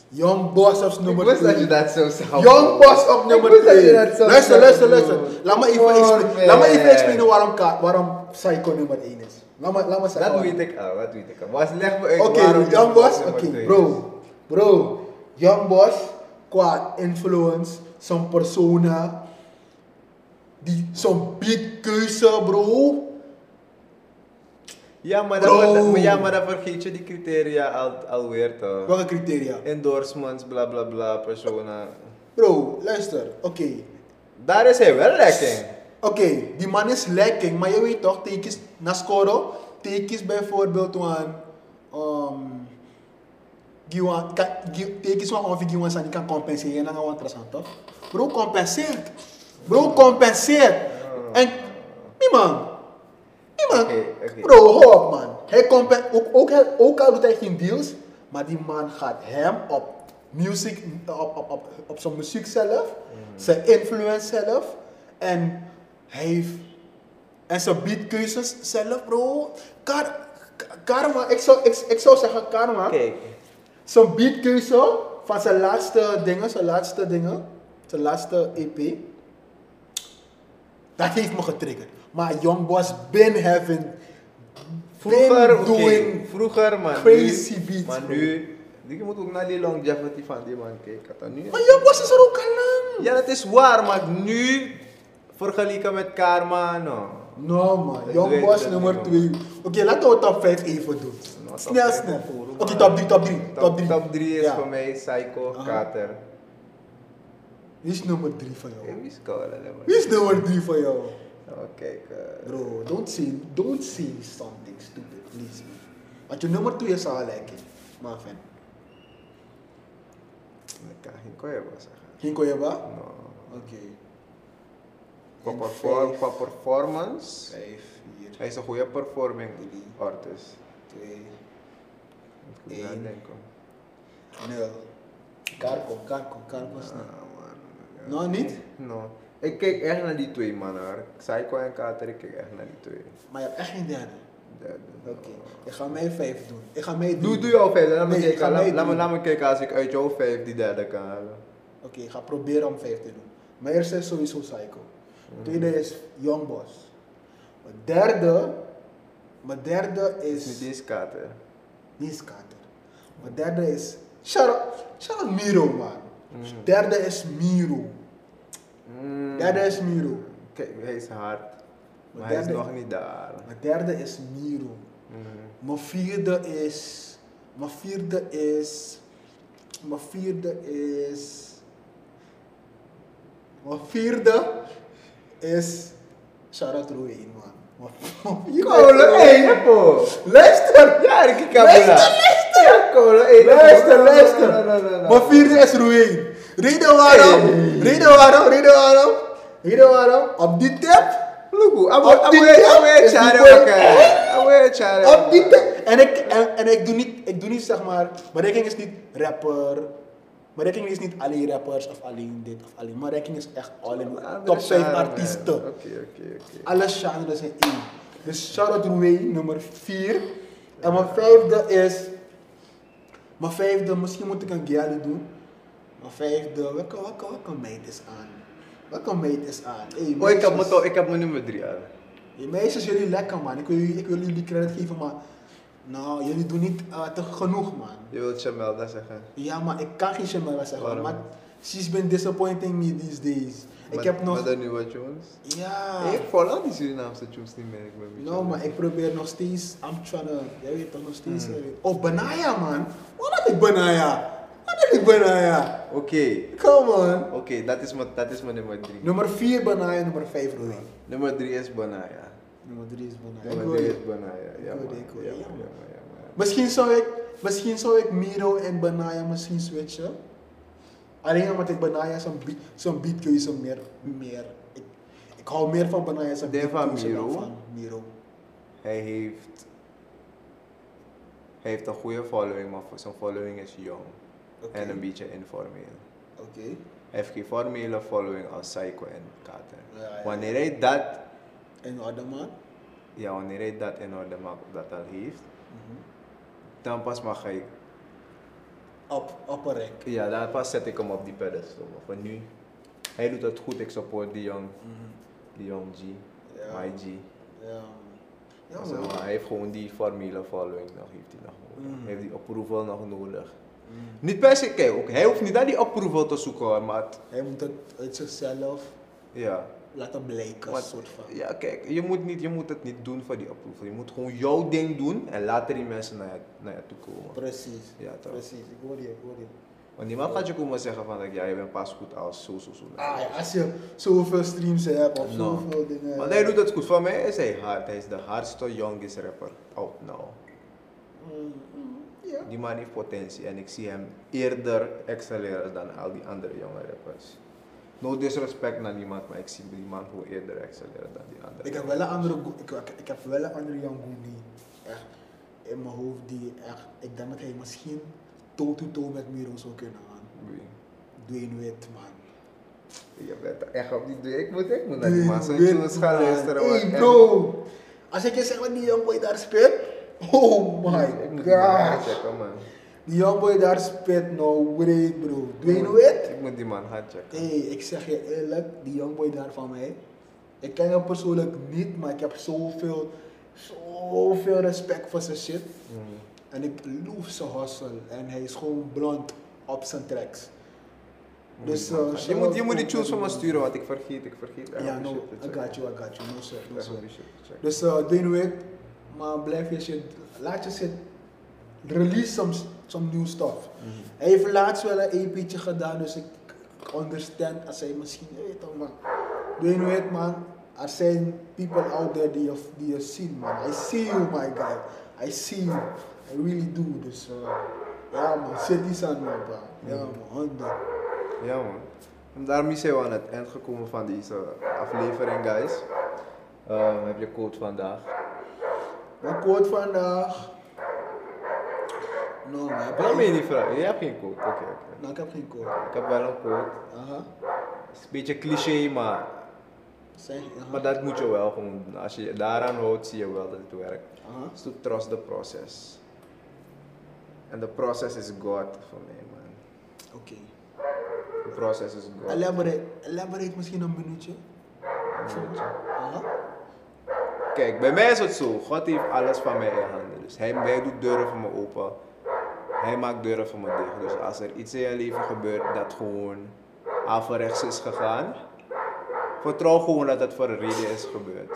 Young Boss als
Ik
nummer
wist dat je
2.
dat zo zou
Young Boss op nummer 2. Luister, luister, luister. Laat me even, expla- laat me even explainen waarom, Ka- waarom Psycho nummer 1 is. Laat me, laat me zeggen.
Dat
waarom.
weet ik al, dat weet ik al. Maar leg me uit
Oké,
waarom
okay, Young Boss,
nummer
oké,
twee is.
bro. Bro, Young Boss, qua influence, zijn persona, die, zijn beatkeuze, bro.
Ja maar,
Bro.
dat, maar- ja, maar dan vergeet je die criteria al, alweer toch?
Welke criteria?
Endorsements, bla bla bla, persona.
Bro, luister, oké.
Daar is hij wel lekker.
Oké, die man is lekker, maar je weet toch, tekens naar scoren, tekens bijvoorbeeld van. Um, Giwan, ka- gi- tekens van ongeveer Giwan zijn die kan compenseren en dan gaan we toch? Bro, compenseert! Bro, compenseert! En, die man, die man,
Oké, oké.
bro, hou op man. Hij compen- ook, ook, hij- ook al doet hij geen deals, maar die man gaat hem op, music, op, op, op, op zijn muziek zelf,
Mhm.
zijn influence zelf en hij heeft en zijn beatkeuzes zelf, bro. Kar, ka- karma, ik zou, ik, ik zou zeggen karma.
Kijk,
Zijn beatkeuze van zijn laatste dingen, zijn laatste dingen, zijn laatste EP. Dat heeft me getriggerd. Maar Young Boss been having,
vroeger,
been
oké,
doing
vroeger man.
crazy
nu,
beats,
Maar
bro.
nu, je moet ook naar die longevity van die man kijken. toch? Nu,
Maar Young Boss is er ook al lang.
ja, dat is waar, maar nu, vergeleken met Karma, no.
No Non, man,
Ik
Young
weet
Boss
het
nummer
niet,
2. Oké, laten we top 5 even doen.
No, Non, top
Snel,
vijf,
snel.
man.
Oké, top 3, top 3. Top
Top,
3
top drie is voor mij Psycho,
Aha.
Kater.
Wie is nummer 3 van
Hey,
jou?
wie is kouder, hè, man?
Wie is nummer 3 van jou?
Oh, kijk. eh,
Bro, don't say, don't say something stupid, please. Man. Want je nummer 2 is al lekker. Maar fan.
ik kan geen kooi hebben, zeg.
Ging kon je wat?
No.
Oké.
Qua,
In
perfor-
vijf,
qua performance,
5, 4,
hij is een goede performing
Drie.
artist.
2,
Moet
Eén.
goed nadenken.
0. Karko, karko, karko is niet.
Ah, man.
Nou, niet?
No. Ik kijk echt naar die twee man hoor. Psycho en Kater, ik kijk echt naar die twee.
Maar je hebt echt geen derde.
Derde.
Oké. Ik ga mij 5 doen. Ik ga mij drie
Doe,
doen.
doe jouw vijf, dan laat me
Nee, ik ga
kijken. Laat,
mee
laat me,
doen.
laat me kijken als ik uit jouw vijf die derde kan halen.
Oké, ik ga proberen om 5 te doen. Mijn eerste is sowieso Psycho. Tweede is Young Boss. Mijn derde, mijn derde
Dus
is...
niet eens Kater.
Niet Kater. Mijn derde is. Shout out, shout out Miro, man. Derde is Miro.
Mm.
Derde is Miro.
Kijk, hij is hard. Maar
Maar
hij is
derde-
nog niet daar.
Mijn derde is Miro.
Mm.
Mijn vierde is. Mijn vierde is. Mijn vierde is. Mijn vierde is. Shout out Roein, man. Mijn- Mijn vierde is
Koude,
Roein.
hé, Jeppo!
Luister!
Ja, ik heb
Luister,
Kabula.
luister!
ja, kom, hey,
Luister,
no, no, no,
luister.
no, no, no, no.
Maar vierde is Roeen. Reden waarom, reden waarom, reden waarom, reden waarom, op die tip,
Lugu, abo
Op die
e
dag
abo e
is die
chare
boy-
elkaar. Abo e chare.
op die tip. En ik, en, en ik doe niet, ik doe niet zeg maar, mijn ranking is niet rapper, mijn ranking is niet alleen rappers of alleen dit of alleen, mijn ranking is echt alleen top 5 artiesten.
Oké, oké, oké.
Alle genres zijn één. Dus Charlotte Roué, nummer 4. En mijn vijfde is. Mijn vijfde, misschien moet ik een gale doen. Mijn vijfde, welke, welke, welke meid is aan? Welke meid is aan? Hey,
Oh, ik heb
meisjes.
mijn ik heb mijn nummer 3 aan.
Hey, meisjes, jullie lekker man. Ik wil, jullie- ik wil jullie credit geven, maar. Nou, jullie doen niet eh, te genoeg man.
Je wilt Chamel dat zeggen.
Ja, maar ik kan geen Shemara zeggen.
Waarom?
Maar she's been disappointing me these days. Ik
Met-
heb nog.
Met de nieuwe tunes.
Ja.
Ik volg al die Surinaamse tunes niet meer. Ik ben een beetje-
No, maar ik probeer nog steeds. I'm trying to. Jij weet toch nog
Hmm.
steeds. eh, Oh, Benaya, man. Wat had ik Benaya? Wat had ik Benaya?
Oké,
Come on.
oké, dat is mijn- dat is mijn nummer 3.
Nummer 4 Benaya, nummer 5 Roy.
Nummer 3 is Banaya.
Nummer 3 is Benaya. Ik
Nummer
hoor
3 is
je.
Banaya. Ja,
Ik hoor
man.
je, ik hoor je.
Ja, man,
Ja, man.
ja, man, ja, man.
Misschien zou ik. Misschien zou ik Miro en Benaya misschien switchen. Alleen omdat ik Benaya zo'n beat, zo'n beatkeuze meer, meer. Ik, ik hou meer van Benaya zijn
Ik denk van
beatkeuze dan
Miro.
van Miro.
Hij heeft. Hij heeft een goede following, maar voor- zijn following is jong.
Oké.
En een beetje informeel.
Oké.
Hij heeft geen formele following als Psycho en Kater.
Ja, ja.
Wanneer hij dat.
En Adama?
Ja, wanneer hij dat in orde maakt, of dat al heeft.
Mhm.
Dan pas mag hij.
Op, op een rek.
Ja, dan pas zet ik hem op die pedestal. Maar voor nu. Hij doet het goed, ik support die jong. Die jong G.
Mhm. Ja.
My G.
Ja. Ja,
Zeg
man.
maar, hij heeft gewoon die formele following nog, heeft hij nog nodig.
Mm.
Hij heeft die approval nog nodig.
Mm.
Niet per se, kijk ook, hij hoeft niet naar die approval te zoeken hoor, maar het-
Hij moet het uit zichzelf
ja.
laten blijken,
Want-
soort van.
ja, kijk, je moet, niet, je moet het niet doen voor die approval. Je moet gewoon jouw ding doen en later die mensen naar je, naar je toe komen.
Precies.
Ja, toch.
Precies, ik hoor je, ik hoor je.
Want niemand gaat je komen zeggen van, like, ja, je bent pas goed als zo, zo, zo.
Ah ja, als je zoveel streams hebt of
No.
zoveel dingen.
Nou. Maar hij doet het goed. Voor mij is hij hard. Hij is de hardste, youngest rapper out now.
Mm, mm, Ja.
Die man heeft potentie en ik zie hem eerder excelleren dan al die andere jonge rappers. No disrespect naar niemand, maar ik zie die man gewoon eerder excelleren dan die andere.
Ik heb wel een andere, go- ik, ik, ik heb wel een andere Young Goonie echt in mijn hoofd die echt, ik denk dat hij misschien toe-to-toe met Miro zou kunnen gaan.
Wie?
Dwayne Wit, man.
Je bent echt op die deur. Ik moet, ik moet naar die man. Zijn
Wit,
tunes gaan
man.
luisteren. want
Hey
echt-
bro, als ik je zeg wat die Youngboy daar speelt, oh
Ik
my
moet die man gaan
god.
checken, man.
Die jongboy daar spit nou breed, bro. Dwayne Wade?
Ik moet die man gaan checken.
Hé, ik zeg je eerlijk, die jongboy daar van mij. Ik ken hem persoonlijk niet, maar ik heb zoveel, zoveel respect voor zijn shit.
Mm.
En ik loof zijn hustle. En hij is gewoon blond op zijn tracks.
Moet
Dus,
die man gaan-
eh,
je,
shout-out
moet, je moet die
aan-
tunes van me sturen, want ik vergeet. Ik vergeet. echt
Ja,
om die
no,
shit te
I
checken.
got you, I got you. No sir, no
Echt om
sir.
die shit te checken.
Dus eh Dwayne Wade, maar blijf je shit, laat je shit, release some, some new stuff. Hij heeft laatst wel een EP'tje gedaan, dus ik ik understand als hij misschien, je weet toch man. Dwayne Wade man, er zijn people out there die je, die je zien man. I see you my guy, I see you, I really do. Dus eh, ja man, zet die aan man bro. Ja man, honderd.
Ja man. En daarmee zijn we aan het eind gekomen van deze aflevering, guys. Ehm, heb je quote vandaag?
Mijn quote vandaag. No man, heb
Waarom ben
je-
je niet vragen? Je hebt geen quote. Oké, oké.
Nou, ik heb geen quote.
Ik heb wel een quote.
Aha.
Het is een beetje cliché, maar,
Zeg, aha.
maar dat moet je wel gewoon. doen. Als je je daaraan houdt, zie je wel dat het werkt.
aha.
Dus to trust the process. En de process is God voor mij, man.
Oké.
De process is God.
Elaborate, elaborate misschien een minuutje.
Weet je.
Aha.
Kijk, bij mij is het zo. God heeft alles van mij in handen. Dus hij, hij doet deuren voor me open. Hij maakt deuren voor me dicht. Dus als er iets in je leven gebeurt dat gewoon averechts is gegaan, vertrouw gewoon dat het voor een reden is gebeurd.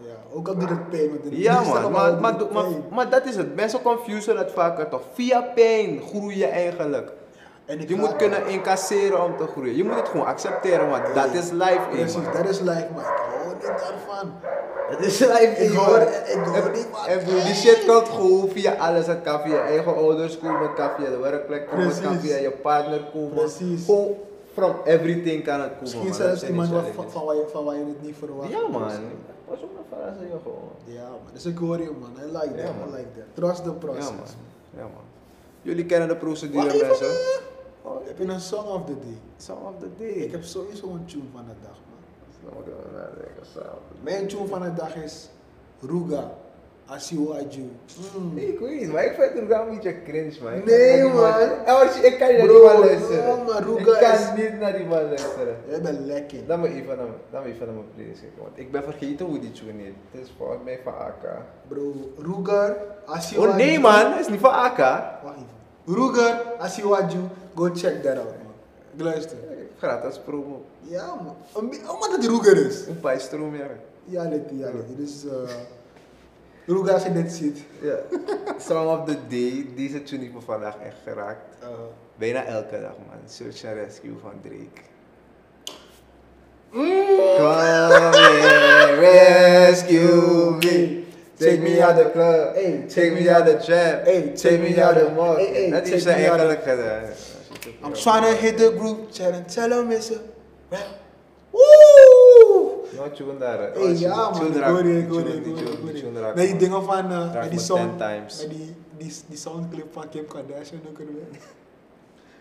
Ja, ook al doet het pijn. want het
Ja
liefst
man,
allemaal
maar,
doet
maar,
het
maar,
pijn.
maar dat is het. Mensen confusen dat vaker toch. Via pijn groei je eigenlijk.
En ik
Je
ga-
moet kunnen incasseren om te groeien. Je moet het gewoon accepteren, want dat is life.
Precies,
eenmaal.
dat is life, maar ik hou Dus niet daarvan.
Het is live, ik hoor, ik hoor
En-
niet wat.
En broer, die shit komt gewoon via alles. Het kan via je eigen ouders komen, het kan via de werkplek komen, het kan
Precies.
via je partner komen.
Precies.
Gewoon from everything kan het komen.
Misschien
man.
zelfs
Dat
iemand
zijn
wat-
die
van,
challenges.
van, waar je, van waar je het niet verwacht.
Ja man, pas op naar verrassen je gewoon.
Ja man, dus ik hoor je man, I like that,
Ja, man.
I like that. Trust the process.
Ja man, ja man. Jullie kennen de procedure
Wat even
mensen.
meer?
Oh,
Heb je een song of the day?
Song of the day.
Ik heb sowieso een tune van de dag man.
Dan moet ik even nadenken, Song of the
Mijn tune van de dag is Ruga, Asiwaju. Mm.
Day. Ik weet niet, maar ik vind het wel een beetje cringe man. Ik
Nee,
kan niet naar die
man.
Eh, wacht, Ik kan niet naar die
Bro,
man luisteren.
no, man, Ruga
Ik kan
is-
niet naar die man luisteren.
Jij bent lekker.
Dan moet ik even naar mijn- dan moet ik even naar mijn playlist kijken, want ik ben vergeten hoe die tune heet. Het is volgens mij van AK.
Bro, Ruger, Asiwaju.
Oh nee Oh, man, het is niet van AK.
Wacht even. Ruger, Asiwaju, go check that out man. Ik luister.
Gratis promo.
Ja man, Een bi- omdat het Ruger is.
Een paar stroom, ja.
Ja, Letty, ja, Letty. Dus, eh Ruga, als je dit ziet.
Ja. Song of the day, deze tune heeft me vandaag echt geraakt.
eh,
Bijna elke dag, man. Search and Rescue van Drake. Come and rescue me. Take me out the club.
Hey,
take me out the trap.
Hey,
take me out the é mall.
Hey, hey,
Dat
take
is zijn
me out
eigenlijk
I'm trying to hit the group chat and tell them it's a rap. Woe!
Not tune daar.
Hey, ja man, ik hoor je, ik hoor je, ik hoor je, ik hoor je. Met die
um-
dingen van, eh,
Raak
met die
me
song,
10 times.
met die, die, die soundclip van Kim Kardashian ook kunnen we.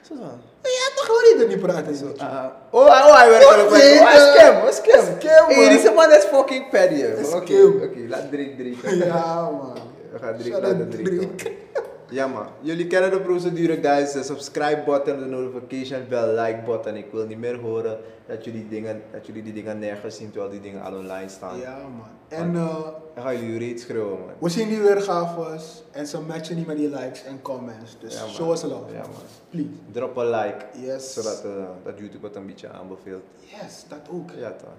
Zo dan.
Ja, toch hoor je er niet praten zo.
Ah, oh, oh, hij werkt
Wat
wel op een
dit,
Oh, hij is
eh?
scam, hij is scam.
Scam,
Hey,
man.
deze man is fucking petty, hè, man.
Scam.
Oké, oké, laat Drake drinken.
Ja man.
We gaan drinken,
Shout
laten
out
drinken.
Drake.
man. Ja, man. Jullie kennen de procedure, guys. De subscribe button, de notification bell, like button. Ik wil niet meer horen dat jullie, dingen, dat jullie die dingen nergens zien terwijl die dingen al online staan.
Ja man. En eh,
Dan gaan jullie reeds schreeuwen, man.
we zien die weergaves en ze matchen niet met die likes en comments. Dus
Ja, man.
show us love.
Ja, man.
Please.
Drop een like,
Yes.
zodat eh, dat YouTube het een beetje aanbeveelt.
Yes, dat ook.
Ja, toch.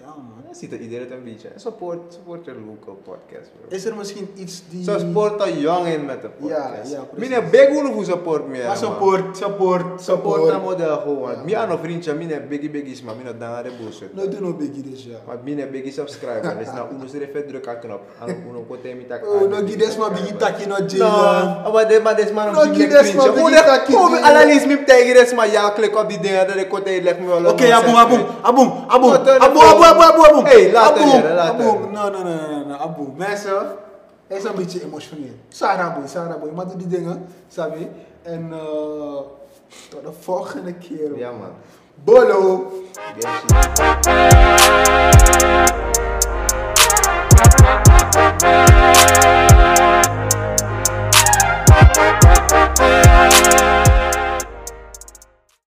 Ja man.
Dan ziet er iedereen het een beetje. En support, support je local podcast, bro.
Is er misschien iets die...
Zo support al jong in met de podcast.
Ja, ja, precies.
Mine big hoe support me. hè,
Maar
man.
support, support,
Support dat
support.
model gewoon.
Ja.
Mi aan een vriendje, mine biggie biggies, maar mine dan aan de bullshit.
No, do no biggie dus ja.
Maar mine biggie subscriber, dus nou, uno se even druk aan knop. En uno kote mi tak. Non,
Oh, no give this man biggie taki no jail. man.
No, maar dit maar dit man
No,
op die
give this man
vriendje. Hoe
biggie
dat
takkie,
kom
die-
analyse mi tegen dit man ja klik op die dingen dat ik kote leg me wel. een
Oké, aboom,
nonsense.
aboom, aboom, aboom,
Wat een-
aboom, aboom, aboom, aboom, aboom.
Hey, later,
Aboom,
jaren, later.
aboom. No, no, no, no, no, no, aboom. Mensen, hij is een beetje emotioneel. Sarah boy, Sarah boy. Maar doe die dingen, sabi. uh, En eh, tot de volgende keer.
Ja man.
Bolo.
Yes, yes.